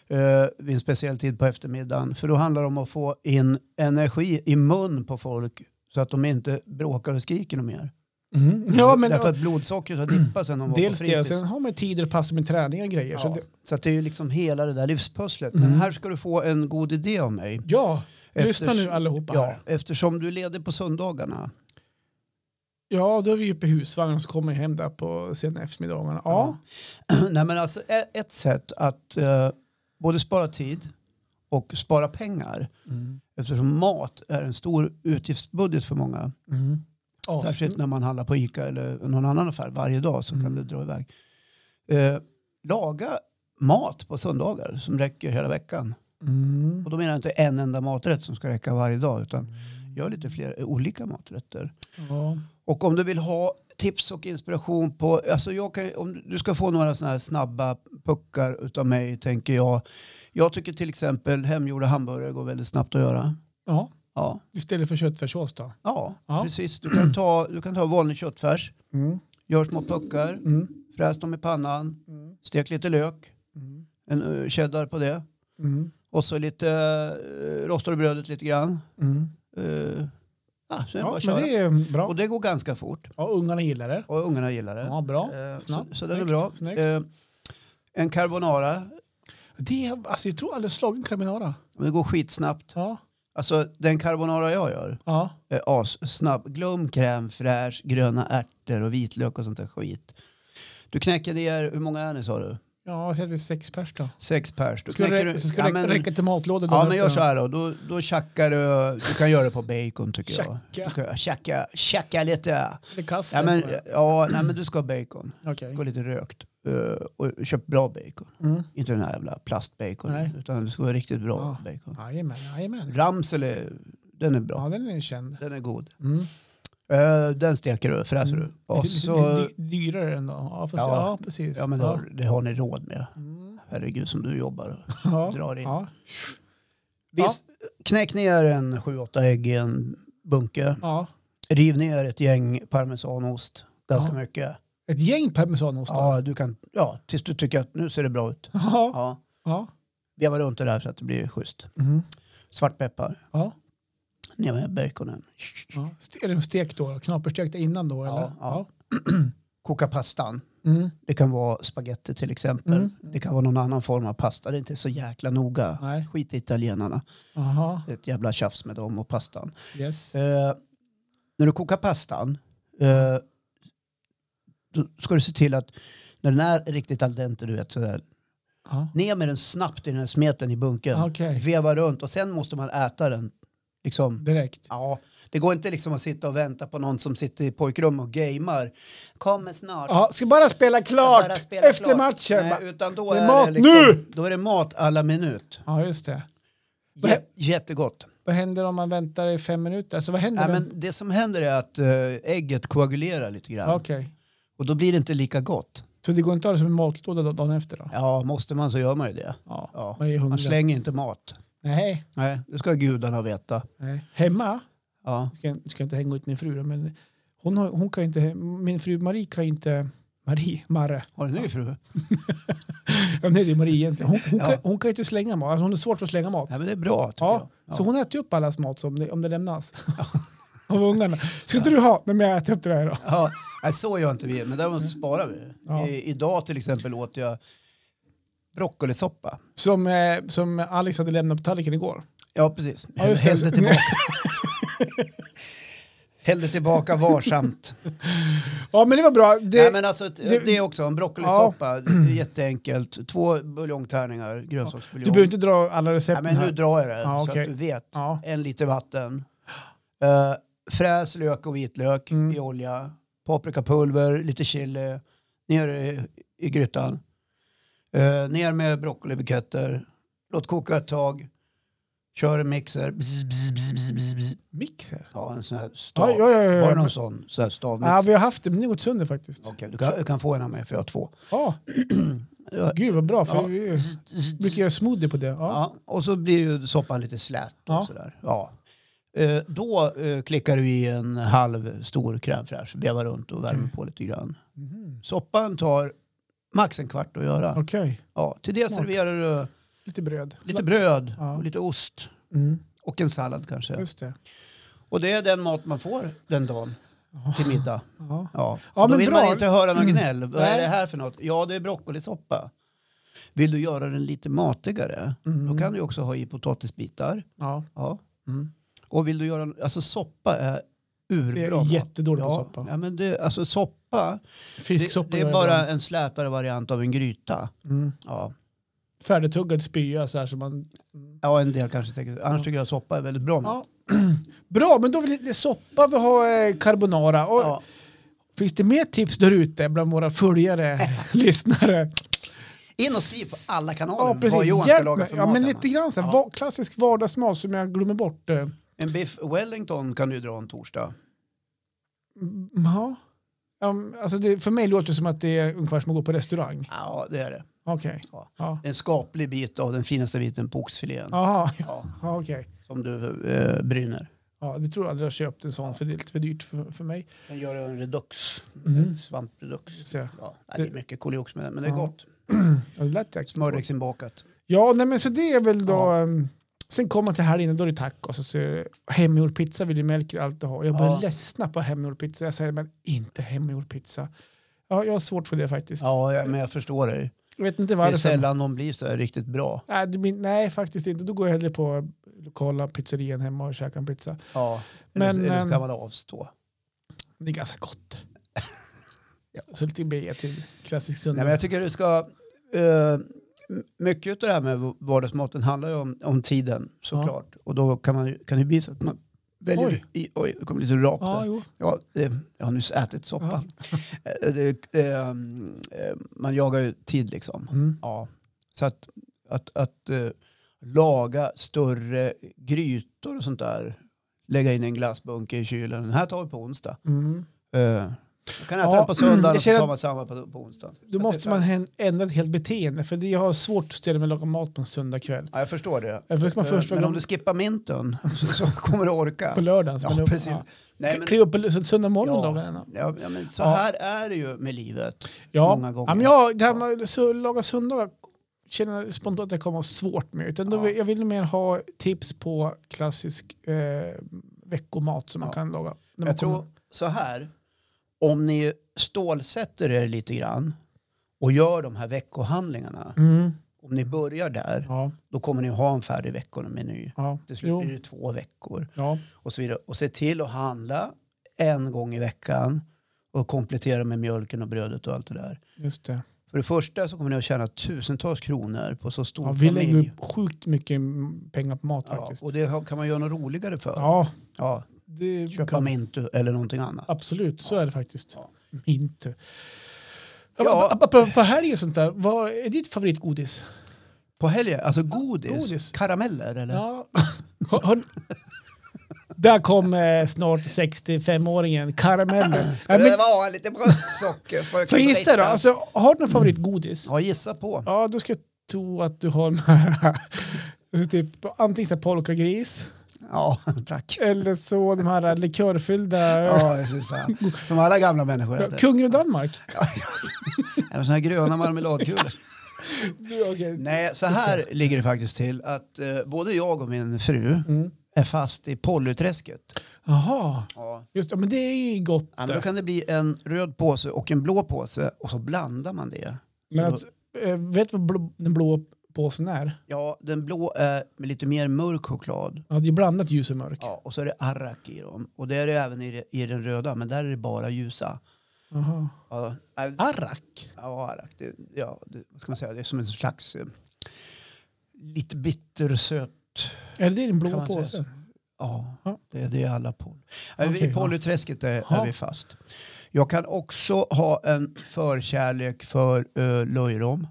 A: eh, vid en speciell tid på eftermiddagen. För då handlar det om att få in energi i mun på folk så att de inte bråkar och skriker något mer.
B: Mm. Ja, men
A: Därför att blodsockret har dippat sedan de var
B: dels
A: på
B: det,
A: fritids.
B: sen har man ju tider att passa med träning och grejer. Ja, så
A: Ja,
B: det,
A: så att det är ju liksom hela det där livspusslet. Men
B: Mm.
A: här ska du få en god idé av mig.
B: ja lyssna
A: Efters-
B: nu allihopa
A: Ja,
B: här.
A: eftersom du är ledig på söndagarna.
B: Ja, då är vi uppe i husvagnen och så kommer jag hem där på sena eftermiddagarna. Ja,
A: Nej, men alltså, e- ett sätt att eh, både spara tid och spara pengar.
B: Mm.
A: Eftersom mat är en stor utgiftsbudget för många.
B: Mm. Ja,
A: Särskilt när man handlar på Ica eller någon annan affär varje dag så
B: Mm.
A: kan det dra iväg. Eh, laga mat på söndagar som räcker hela veckan.
B: Mm.
A: Och då menar jag inte en enda maträtt som ska räcka varje dag utan gör lite fler eh, olika maträtter.
B: Ja.
A: Och om du vill ha tips och inspiration på, alltså jag kan, om du ska få några sådana här snabba puckar utav mig tänker jag. Jag tycker till exempel hemgjorda hamburgare går väldigt snabbt att göra.
B: ja,
A: Ja,
B: istället för köttfärssås då.
A: ja,
B: Ja.
A: precis. Du kan, ta, du kan ta vanlig köttfärs,
B: Mm.
A: gör små puckar,
B: Mm.
A: fräs dem i pannan,
B: Mm.
A: stek lite lök,
B: Mm.
A: en eh, cheddar på det
B: Mm.
A: och så lite, eh, rostar du brödet lite grann.
B: Mm.
A: Eh, ah, så är det bara
B: Ja,
A: att
B: men
A: köra.
B: det är bra.
A: Och det går ganska fort
B: Ja, ungarna gillar det.
A: och ungarna gillar det.
B: Ja, bra.
A: Eh,
B: Snabbt.
A: Så, så den är
B: Snyggt.
A: bra.
B: Snyggt.
A: Eh, En carbonara,
B: Det, alltså, jag tror aldrig slagit en carbonara.
A: det går skitsnabbt.
B: Ja.
A: Alltså den carbonara jag gör
B: ja.
A: är assnabb. Glöm crème fraîche, gröna ärtor och vitlök och sånt där skit. Du knäcker ner, hur många är ni sa du?
B: Ja, säg att vi är sex pers då.
A: Sex pers. Då
B: Skulle
A: knäcker
B: rä-
A: du-
B: så skulle
A: ja,
B: räcka-
A: men-
B: räcka till matlådor.
A: Ja
B: dagen
A: men gör
B: efter.
A: så här då. Då, då tjackar du, du kan göra det på bacon tycker jag.
B: Tjacka.
A: Du kan Tjacka, tjacka lite.
B: Eller kassa.
A: Ja men,
B: på det.
A: ja, nej, men du ska ha bacon.
B: Okej.
A: Gå lite rökt. Eh, och köp bra bacon.
B: Mm.
A: Inte den här jävla plastbacon.
B: Nej.
A: Utan det ska vara riktigt bra
B: Ja.
A: bacon.
B: Jajamän, jajamän.
A: Ramsele, den är bra.
B: Ja, den är ju känd.
A: Den är god.
B: Mm.
A: Eh, den steker du, fräser du.
B: Mm.
A: Och
B: Lite-
A: så,
B: lite dy- dyrare ändå. Ja, fast,
A: Ja.
B: ja. precis.
A: ja, men det, har, det har ni råd med.
B: Mm.
A: Herregud som du jobbar.
B: Ja.
A: Drar in.
B: Ja.
A: Visst, knäck ner en 7-8 ägg i en bunke.
B: ja.
A: Riv ner ett gäng parmesanost. Ganska
B: Ja.
A: mycket.
B: Ett gäng parmesanost. då.
A: Ja, du kan, ja, tills du tycker att nu ser det bra ut.
B: Ja.
A: Ja,
B: Ja.
A: veva runt det där så att det blir schysst.
B: Mm.
A: Svartpeppar,
B: ja.
A: ner med baconen.
B: ja. Ste- Är den stekt då? Knaperstekt innan då? Eller?
A: Ja, ja. Koka pastan.
B: Ja. Mm.
A: Det kan vara spaghetti till exempel.
B: Mm.
A: Det kan vara någon annan form av pasta. Det är inte så jäkla noga.
B: Nej.
A: Skit i italienarna.
B: Aha.
A: Det är ett jävla tjafs med dem och pastan.
B: Yes.
A: Eh, när du kokar pastan eh, då ska du se till att när den är riktigt al dente, du vet sådär.
B: Ja.
A: Ner med den snabbt i den här smeten i bunken.
B: Okej.
A: veva runt och sen måste man äta den. Liksom,
B: Direkt.
A: ja, det går inte liksom att sitta och vänta på någon som sitter i pojkrum och gamer. Kommer snart.
B: Ja, ska bara spela
A: Jag
B: klart
A: bara spelar
B: efter
A: klart.
B: matchen.
A: Nej,
B: bara.
A: utan då
B: Det
A: är,
B: är mat
A: det liksom,
B: nu!
A: då är det mat alla minut.
B: Ja, just det. Vad
A: Jä-
B: hä-
A: jättegott.
B: Vad händer om man väntar i fem minuter? Alltså vad händer?
A: Nej,
B: då?
A: men det som händer är att eh, ägget koagulerar lite grann.
B: Okej.
A: Och då blir det inte lika gott.
B: Så det går inte att ha det som en matlåda då- dagen efter då?
A: Ja, måste man så gör man ju det.
B: Ja.
A: Ja.
B: Man är ju
A: Man
B: hungrig.
A: slänger inte mat.
B: Nej.
A: Nej, det ska gudarna veta.
B: Nej. Hemma?
A: Ja.
B: Ska, ska inte hänga ut min fru då, men hon, har, hon kan ju inte, min fru Marie kan ju inte Marie, Marre.
A: Har du en ny fru?
B: Ja, men nej, det är Marie egentligen. Hon, hon,
A: Ja.
B: kan, hon kan ju inte slänga mat. Alltså, hon är svårt för att slänga mat.
A: Nej, men det är bra tycker
B: Ja,
A: jag.
B: Så hon äter ju upp allas mat som det, om det lämnas. Av ungarna. Ska inte du ha? Nej, men jag äter upp det där då.
A: Ja, nej, så gör inte vi, men däremot sparar vi.
B: Ja.
A: I, idag till exempel åt jag broccolisoppa.
B: Som, eh, som Alex hade lämnat på tallriken igår.
A: Ja, precis.
B: Ja, just det.
A: Hällde tillbaka. Hällde tillbaka varsamt.
B: Ja, men det var bra. Det,
A: nej, men alltså, ett-
B: du-
A: det är också en broccolisoppa. Det är Jätteenkelt. Två buljongtärningar,
B: du
A: grönsaksbuljong.
B: behöver inte dra alla
A: nej,
B: recepten
A: men nu
B: här.
A: drar jag det
B: Ja,
A: så
B: okej.
A: att du vet.
B: Ja.
A: En liter vatten. Eh, fräs lök och vitlök
B: Mm.
A: i olja. Paprikapulver, lite chili. Ner i, i grytan. Eh, ner med broccolibuketter. Låt koka ett tag. Kör en mixer. Bzz, bzz, bzz, bzz, bzz, bzz.
B: Mixer?
A: Ja, en sån här stav.
B: Ja, ja, ja.
A: Var det
B: ja,
A: någon sån, sån här stavmixer?
B: ja vi har haft det, men det har gått sönder faktiskt.
A: Okej, du kan, jag kan få en av mig för jag har två.
B: Ja.
A: Ja.
B: Gud vad bra, för
A: Ja.
B: vi brukar göra smoothie på det. Ja.
A: Ja, och så blir ju soppan lite slät. Och
B: Ja.
A: sådär. Ja. Eh, då eh, klickar du i en halv stor crème fraîche, vevar runt och värmer
B: Okej.
A: på lite grann.
B: Mhm.
A: Soppan tar max en kvart att göra.
B: Okej,
A: Ja, till det
B: Smart.
A: serverar du
B: lite bröd.
A: lite bröd
B: Ja.
A: och lite ost
B: Mm.
A: och en sallad kanske.
B: Just det.
A: Och det är den mat man får den dagen till middag.
B: Ja.
A: Ja.
B: Ja,
A: Då
B: men
A: vill
B: bra. Mm.
A: man inte höra någon gnäll. Vad är
B: Nej.
A: det här för något? Ja, det är broccolisoppa. Vill du göra den lite matigare,
B: Mm.
A: då kan du också ha i potatisbitar.
B: Ja.
A: Ja.
B: Mm.
A: Och vill du göra, alltså soppa är
B: Det
A: urbra.
B: är
A: mat.
B: jättedåligt med
A: ja,
B: soppa.
A: Ja, men det, alltså soppa, det,
B: Fisksoppa
A: det
B: gör
A: är
B: jag
A: bara
B: ibland.
A: en slätare variant av en gryta.
B: Mm.
A: Ja,
B: Färdigtuggad spya så här som man...
A: ja en del kanske tänker, annars tycker jag soppa är väldigt bra. mat.
B: Ja. Bra, men då har vi lite soppa, vi har eh, carbonara. Och
A: Ja.
B: Finns det mer tips där ute bland våra följare, lyssnare?
A: In och skriv på alla kanaler
B: Ja, precis.
A: vad Johan ska
B: Hjälp
A: laga
B: mig.
A: för
B: Ja,
A: mat
B: men
A: hemma.
B: lite grann så här,
A: Ja. Mm.
B: va- klassisk vardagsmat som jag glömmer bort. eh.
A: En biff wellington kan du ju dra en torsdag.
B: Mm, Ja. Um, alltså det, för mig låter det som att det är ungefär som att gå på restaurang.
A: Ja, det är det.
B: Okej.
A: Ja.
B: Ja.
A: En skaplig bit av den finaste biten på oxfilén.
B: Jaha,
A: Ja,
B: ja, okej.
A: som du eh, bryner.
B: Ja, det tror jag aldrig jag köpt en sån för det är lite för dyrt för, för mig.
A: Sen gör du en redux,
B: Mm.
A: en svampreduks.
B: Så, ja,
A: Ja, Mhm. det är mycket koliox med det, men det är
B: Ja.
A: gott.
B: det lät jäkligt gott.
A: Smördegsinbakat.
B: Ja, nej, men så det är väl då.
A: Ja.
B: ehm, sen kommer man till här inne, då är det tacos och så är det hemgjord pizza vill ju Melker alltid ha. Jag börjar
A: Ja.
B: ledsna på hemgjord pizza. Jag säger, men inte hemgjord pizza. Ja, jag har svårt för det faktiskt.
A: Ja, jag, men jag förstår dig.
B: Jag vet
A: Det
B: inte
A: är
B: varför.
A: sällan de blir så här riktigt bra.
B: Nej, det blir, nej, faktiskt inte. Då går jag hellre på lokala pizzerian hemma och käkar en pizza.
A: Ja.
B: Men,
A: eller, eller så
B: ehm,
A: kan man avstå.
B: Det är ganska gott.
A: Ja.
B: Så lite bea till klassisk
A: Nej,
B: söndag.
A: men jag tycker du ska... eh, m- mycket av det här med vardagsmaten handlar ju om, om tiden såklart. Och då kan, man, ju- kan det bli så att man väljer...
B: Oj.
A: Oj, i, oj det kom lite rap
B: ja,
A: där.
B: jo.
A: Ja, eh, jag har nyss ätit soppa. Eh, det, eh, eh, man jagar ju tid liksom.
B: Mm.
A: Ja, så att, att, att eh, laga större grytor och sånt där. Lägga in en glassbunke i kylen. Den här tar vi på onsdag.
B: Mm.
A: Eh, man kan äta
B: Ja,
A: den på söndagen
B: jag
A: och så
B: känner
A: tar
B: att-
A: man samma på, på onsdag.
B: Då måste man hän- ändra ett helt beteende. För det- jag har svårt att ställa mig och laga mat på en söndag kväll.
A: Ja, jag förstår det.
B: Jag försöker man
A: Eh,
B: först vara
A: men om
B: igång
A: du skippar minten så, så kommer du orka.
B: på lördagen. så
A: Ja,
B: men då-
A: precis.
B: ja.
A: Nej, men,
B: Kliva upp på söndag morgon
A: Ja.
B: dagen innan.
A: ja, ja, men så
B: Ja.
A: här är det ju med livet.
B: Ja.
A: Många gånger.
B: ja, men jag, det här med att laga söndagar känner jag spontant att jag kommer ha svårt med. Utan då
A: Ja.
B: vill, jag vill mer ha tips på klassisk eh, veckomat som man
A: Ja.
B: kan laga. när man
A: Jag tror
B: kommer-
A: så här. Om ni stålsätter er lite grann och gör de här veckohandlingarna.
B: Mm.
A: Om ni börjar där
B: Ja,
A: då kommer ni ha en färdig veckomeny.
B: ja.
A: Till slut
B: Jo,
A: blir det två veckor
B: ja.
A: och så vidare. Och se till att handla en gång i veckan och komplettera med mjölken och brödet och allt det där.
B: just det.
A: För det första så kommer ni att tjäna tusentals kronor på så stor
B: Ja, vi lägger
A: familj.
B: upp sjukt mycket pengar på mat
A: Ja,
B: faktiskt.
A: och det har- kan man göra något roligare för. Ja.
B: Ja, det
A: köpa
B: kan-
A: mintu eller någonting annat.
B: Absolut, så är det faktiskt.
A: Ja.
B: Inte.
A: Ja.
B: Ja. På, på helg och sånt där, vad är ditt favoritgodis?
A: På helgen, alltså godis,
B: godis.
A: karameller eller?
B: Ja. Hör, hör, där kom eh, snart 65-åringen, karameller.
A: Ska
B: Ja,
A: det
B: men,
A: vara lite bröstsocker? För Mm.
B: får jag gissa då? Alltså, har du någon favoritgodis?
A: Ja, gissa på.
B: Ja, då ska jag tro att du har de här, typ, antingen så här polkagris
A: Ja, tack.
B: eller så de här likörfyllda
A: Ja, det är så här. Som alla gamla människor
B: Ja,
A: äter.
B: Kungen av Danmark?
A: Ja, just det. Även såna här gröna marmeladkulor. Nej, så här ligger det faktiskt till att eh, både jag och min fru
B: Mm.
A: är fast i Pollyträsket.
B: Jaha,
A: Ja.
B: just det. Men det är ju gott.
A: men då kan det bli en röd påse och en blå påse och så blandar man det.
B: Men att, eh, vet du vad blå, den blå påsen är?
A: Ja, den blå är med lite mer mörk choklad.
B: Ja, det är blandat ljus och mörk.
A: Ja, och så är det arrak i dem. Och det är det även i, i den röda, men där är det bara ljusa.
B: Jaha.
A: Ja, äh,
B: Ah. Arrak?
A: ja arrak, det, ja, det, vad ska man säga, det är som en slags eh, lite bittersöt
B: Är det din
A: Kan
B: blå
A: man säga
B: påse?
A: Ja,
B: Ja.
A: det, det är alla pol. Äh,
B: Okej,
A: I Polyträsket är,
B: Ja.
A: är vi fast. Jag kan också ha en förkärlek för uh, löjrom.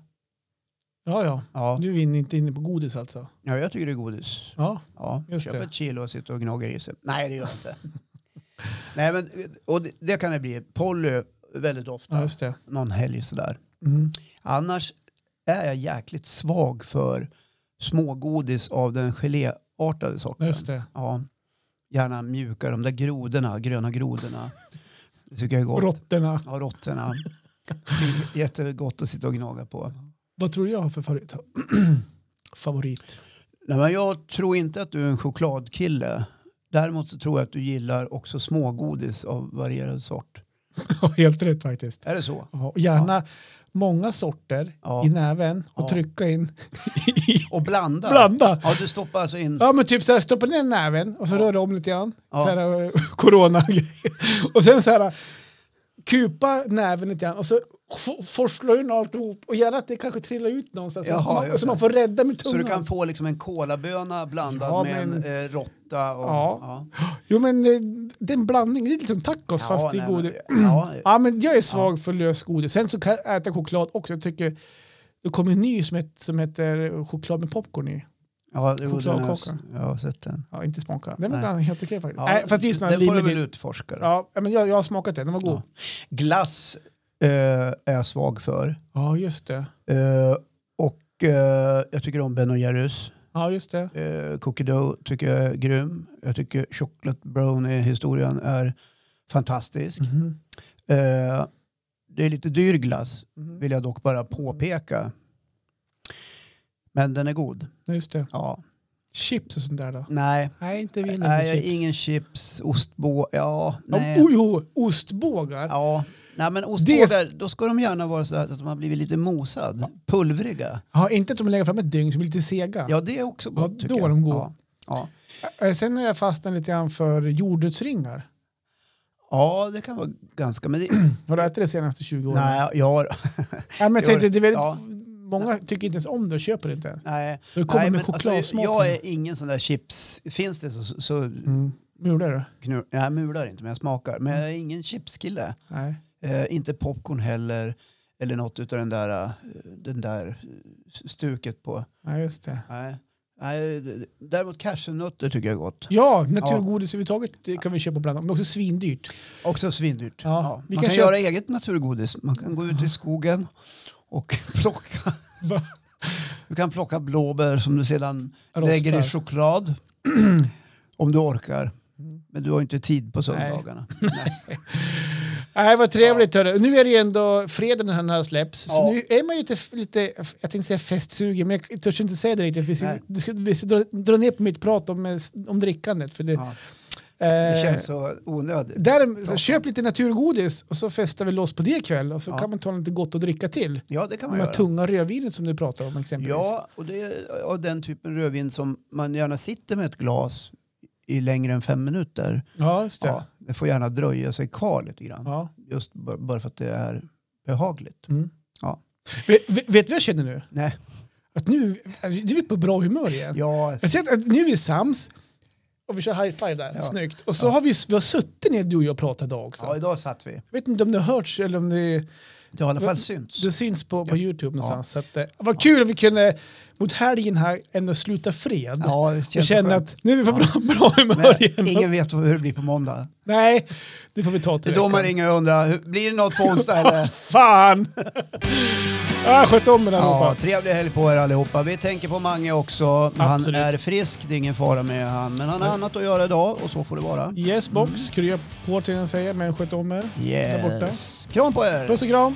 B: Ja, ja.
A: Ja.
B: Du är vi inte inne på godis alltså?
A: ja, jag tycker det är godis.
B: Ja.
A: Ja,
B: Just
A: köp
B: det.
A: ett kilo och sitta och gnaga i sig. Nej, det gör jag inte. Nej, men, eh, och det, det kan det bli. Polly väldigt
B: ja,
A: ofta.
B: just det.
A: Någon helg sådär.
B: Mm.
A: Annars är jag jäkligt svag för smågodis av den geléartade
B: Ja,
A: sorten.
B: Just det.
A: Ja, gärna mjuka, de där grodorna, gröna grodorna. Det tycker jag är gott.
B: Råttorna.
A: Ja, råttorna. Det är Jättegott att sitta och gnaga på.
B: Vad tror du jag har för favorit? favorit?
A: Nej, men jag tror inte att du är en chokladkille. Däremot så tror jag att du gillar också smågodis av varierad sort.
B: Ja, Helt rätt faktiskt.
A: Är det så?
B: Ja, och gärna många sorter
A: Ja.
B: i näven och
A: Ja.
B: trycka in.
A: Och blanda.
B: Blanda.
A: Ja, du stoppar alltså in...
B: Ja men typ så här, stoppa ner näven och så rör du om lite grann.
A: Ja.
B: Så här, eh, corona Och sen så här eh, kupa näven lite grann och så f- forsla in alltihop och gärna att det kanske trillar ut någonstans.
A: Jaha,
B: så, man,
A: just
B: så
A: det.
B: man får rädda med
A: Så
B: tungan.
A: du kan få liksom en kolaböna blandad
B: Ja,
A: med en
B: men-
A: eh, råtta. Och,
B: Ja. Jo men eh, det är en blandning, det är lite som tacos fast i
A: nej, men-
B: godis.
A: Ja,
B: Ja men jag är svag för lös godis. Sen så kan jag äta choklad också. Jag tycker det kommer en ny som, het, som heter choklad med popcorn i.
A: ja, det gjorde den.
B: Chokladkaka.
A: Jag har sett den.
B: Ja, inte smaka. Den
A: Nej.
B: var helt okej faktiskt.
A: Ja,
B: Nej, fast det är ju sån här
A: den får du
B: limited-
A: väl utforska. då.
B: Ja, men jag, jag har smakat den, den var god.
A: Ja. Glass eh, är jag svag för.
B: Ja, just det.
A: Eh, och eh, jag tycker om Ben Jerrys.
B: Ja, just det.
A: Eh, Cookie Dough tycker jag är grym. Jag tycker Chocolate Brownie-historien är fantastisk. Eh, det är lite dyr glass,
B: Mhm.
A: vill jag dock bara påpeka. Men den är god.
B: Just det.
A: Ja.
B: Chips och sånt där då?
A: Nej,
B: Nej, inte vill
A: nej jag är ingen chips, ostbå, ja,
B: Ja,
A: nej.
B: oh, jo, ostbågar.
A: Ja, Nej men
B: Det-
A: ostbågar, då ska de gärna vara så här att de har blivit lite mosad, pulvriga.
B: Ja, inte att de lägger fram ett dygn som är lite sega.
A: Ja det är också gott
B: Ja,
A: tycker
B: då
A: jag.
B: är de goda.
A: ja. Ja.
B: Eh, Sen har jag fastnat lite grann för jordnötsringar.
A: ja, det kan vara ganska... Men det,
B: Har du ätit det senaste 20 åren?
A: nej, ja,
B: Ja, men jag
A: Jo,
B: tänkte, det är väldigt,
A: ja.
B: Många tycker inte ens om det och köper det inte ens.
A: nej.
B: Du kommer
A: nej,
B: med
A: men alltså,
B: chokladsmak.
A: jag är ingen sån där chips... Finns det så, så
B: mm. Mular du?
A: knur, jag mular inte men jag smakar. Men jag är ingen chipskille.
B: Nej.
A: Eh, inte popcorn heller. Eller något utav den där, eh, den där eh, stuket på.
B: Ja, just det.
A: Nej. Nej, d- d- däremot cashewnötter tycker jag är gott.
B: Ja, naturgodis överhuvudtaget det kan vi köpa bland annat. Men också svindyrt.
A: Också svindyrt.
B: Ja,
A: Ja.
B: vi
A: Man
B: kan
A: kan,
B: köpa-
A: göra eget naturgodis. Man kan gå ut i skogen och plocka.
B: Va?
A: Du kan plocka blåbär som du sedan
B: Rostar.
A: lägger i choklad. Om du orkar.
B: Mm.
A: Men du har inte tid på söndagarna. Nej.
B: Nej, vad trevligt. Hörru. Nu är det ju ändå fredag när den här släpps. Så
A: Ja.
B: nu är man lite, lite, jag tänkte säga festsugen, men jag törs inte säga det riktigt. Vi ska,
A: Nej.
B: vi ska, vi ska dra, dra ner på mitt prat om, eh, om drickandet. För det,
A: Ja,
B: eh,
A: det känns så onödigt.
B: Där, så köp lite naturgodis och så festar vi loss på det ikväll och så
A: Ja.
B: kan man ta lite gott att dricka till.
A: Ja, det kan
B: De
A: man
B: här
A: göra.
B: tunga rödvinen som du pratar om exempelvis.
A: Ja, och det är av den typen rödvin som man gärna sitter med ett glas i längre än fem minuter.
B: ja just det.
A: Ja, det får gärna dröja sig kvar lite grann.
B: Ja.
A: Just b- bara för att det är behagligt.
B: Mm.
A: Ja.
B: Vet, vet vet du vad jag känner nu?
A: Nej,
B: Att nu, du är på bra humör igen.
A: ja,
B: Jag ser att- att nu är vi sams och vi kör high five där,
A: Ja.
B: snyggt. Och så
A: Ja.
B: har vi, vi har suttit ner du och jag och pratat idag också.
A: ja, idag satt vi.
B: Jag vet inte om det har hörts eller om det,
A: Det har i alla
B: Men-
A: fall synts.
B: det syns på, på Youtube någonstans. Så att, eh, vad kul att vi kunde mot helgen här ändå sluta fred.
A: Ja, det
B: Jag
A: känns
B: känner
A: skönt.
B: att nu är vi på bra, bra humör igen.
A: Men ingen vet hur det blir på måndag.
B: Nej, det får vi ta
A: Det
B: till
A: är då man
B: veckan.
A: ringer och undrar, hur- blir det något på onsdag eller?
B: Fan! ah, sköt om den allihopa.
A: Ja, trevlig helg på er allihopa. Vi tänker på Mange också. Han
B: Absolut.
A: är frisk, det är ingen fara med han. Men han har
B: Nej.
A: annat att göra idag och så får det vara.
B: Yes box, krya på till den säger, men sköt om er. Där borta.
A: Yes. Kram på er!
B: Puss och kram!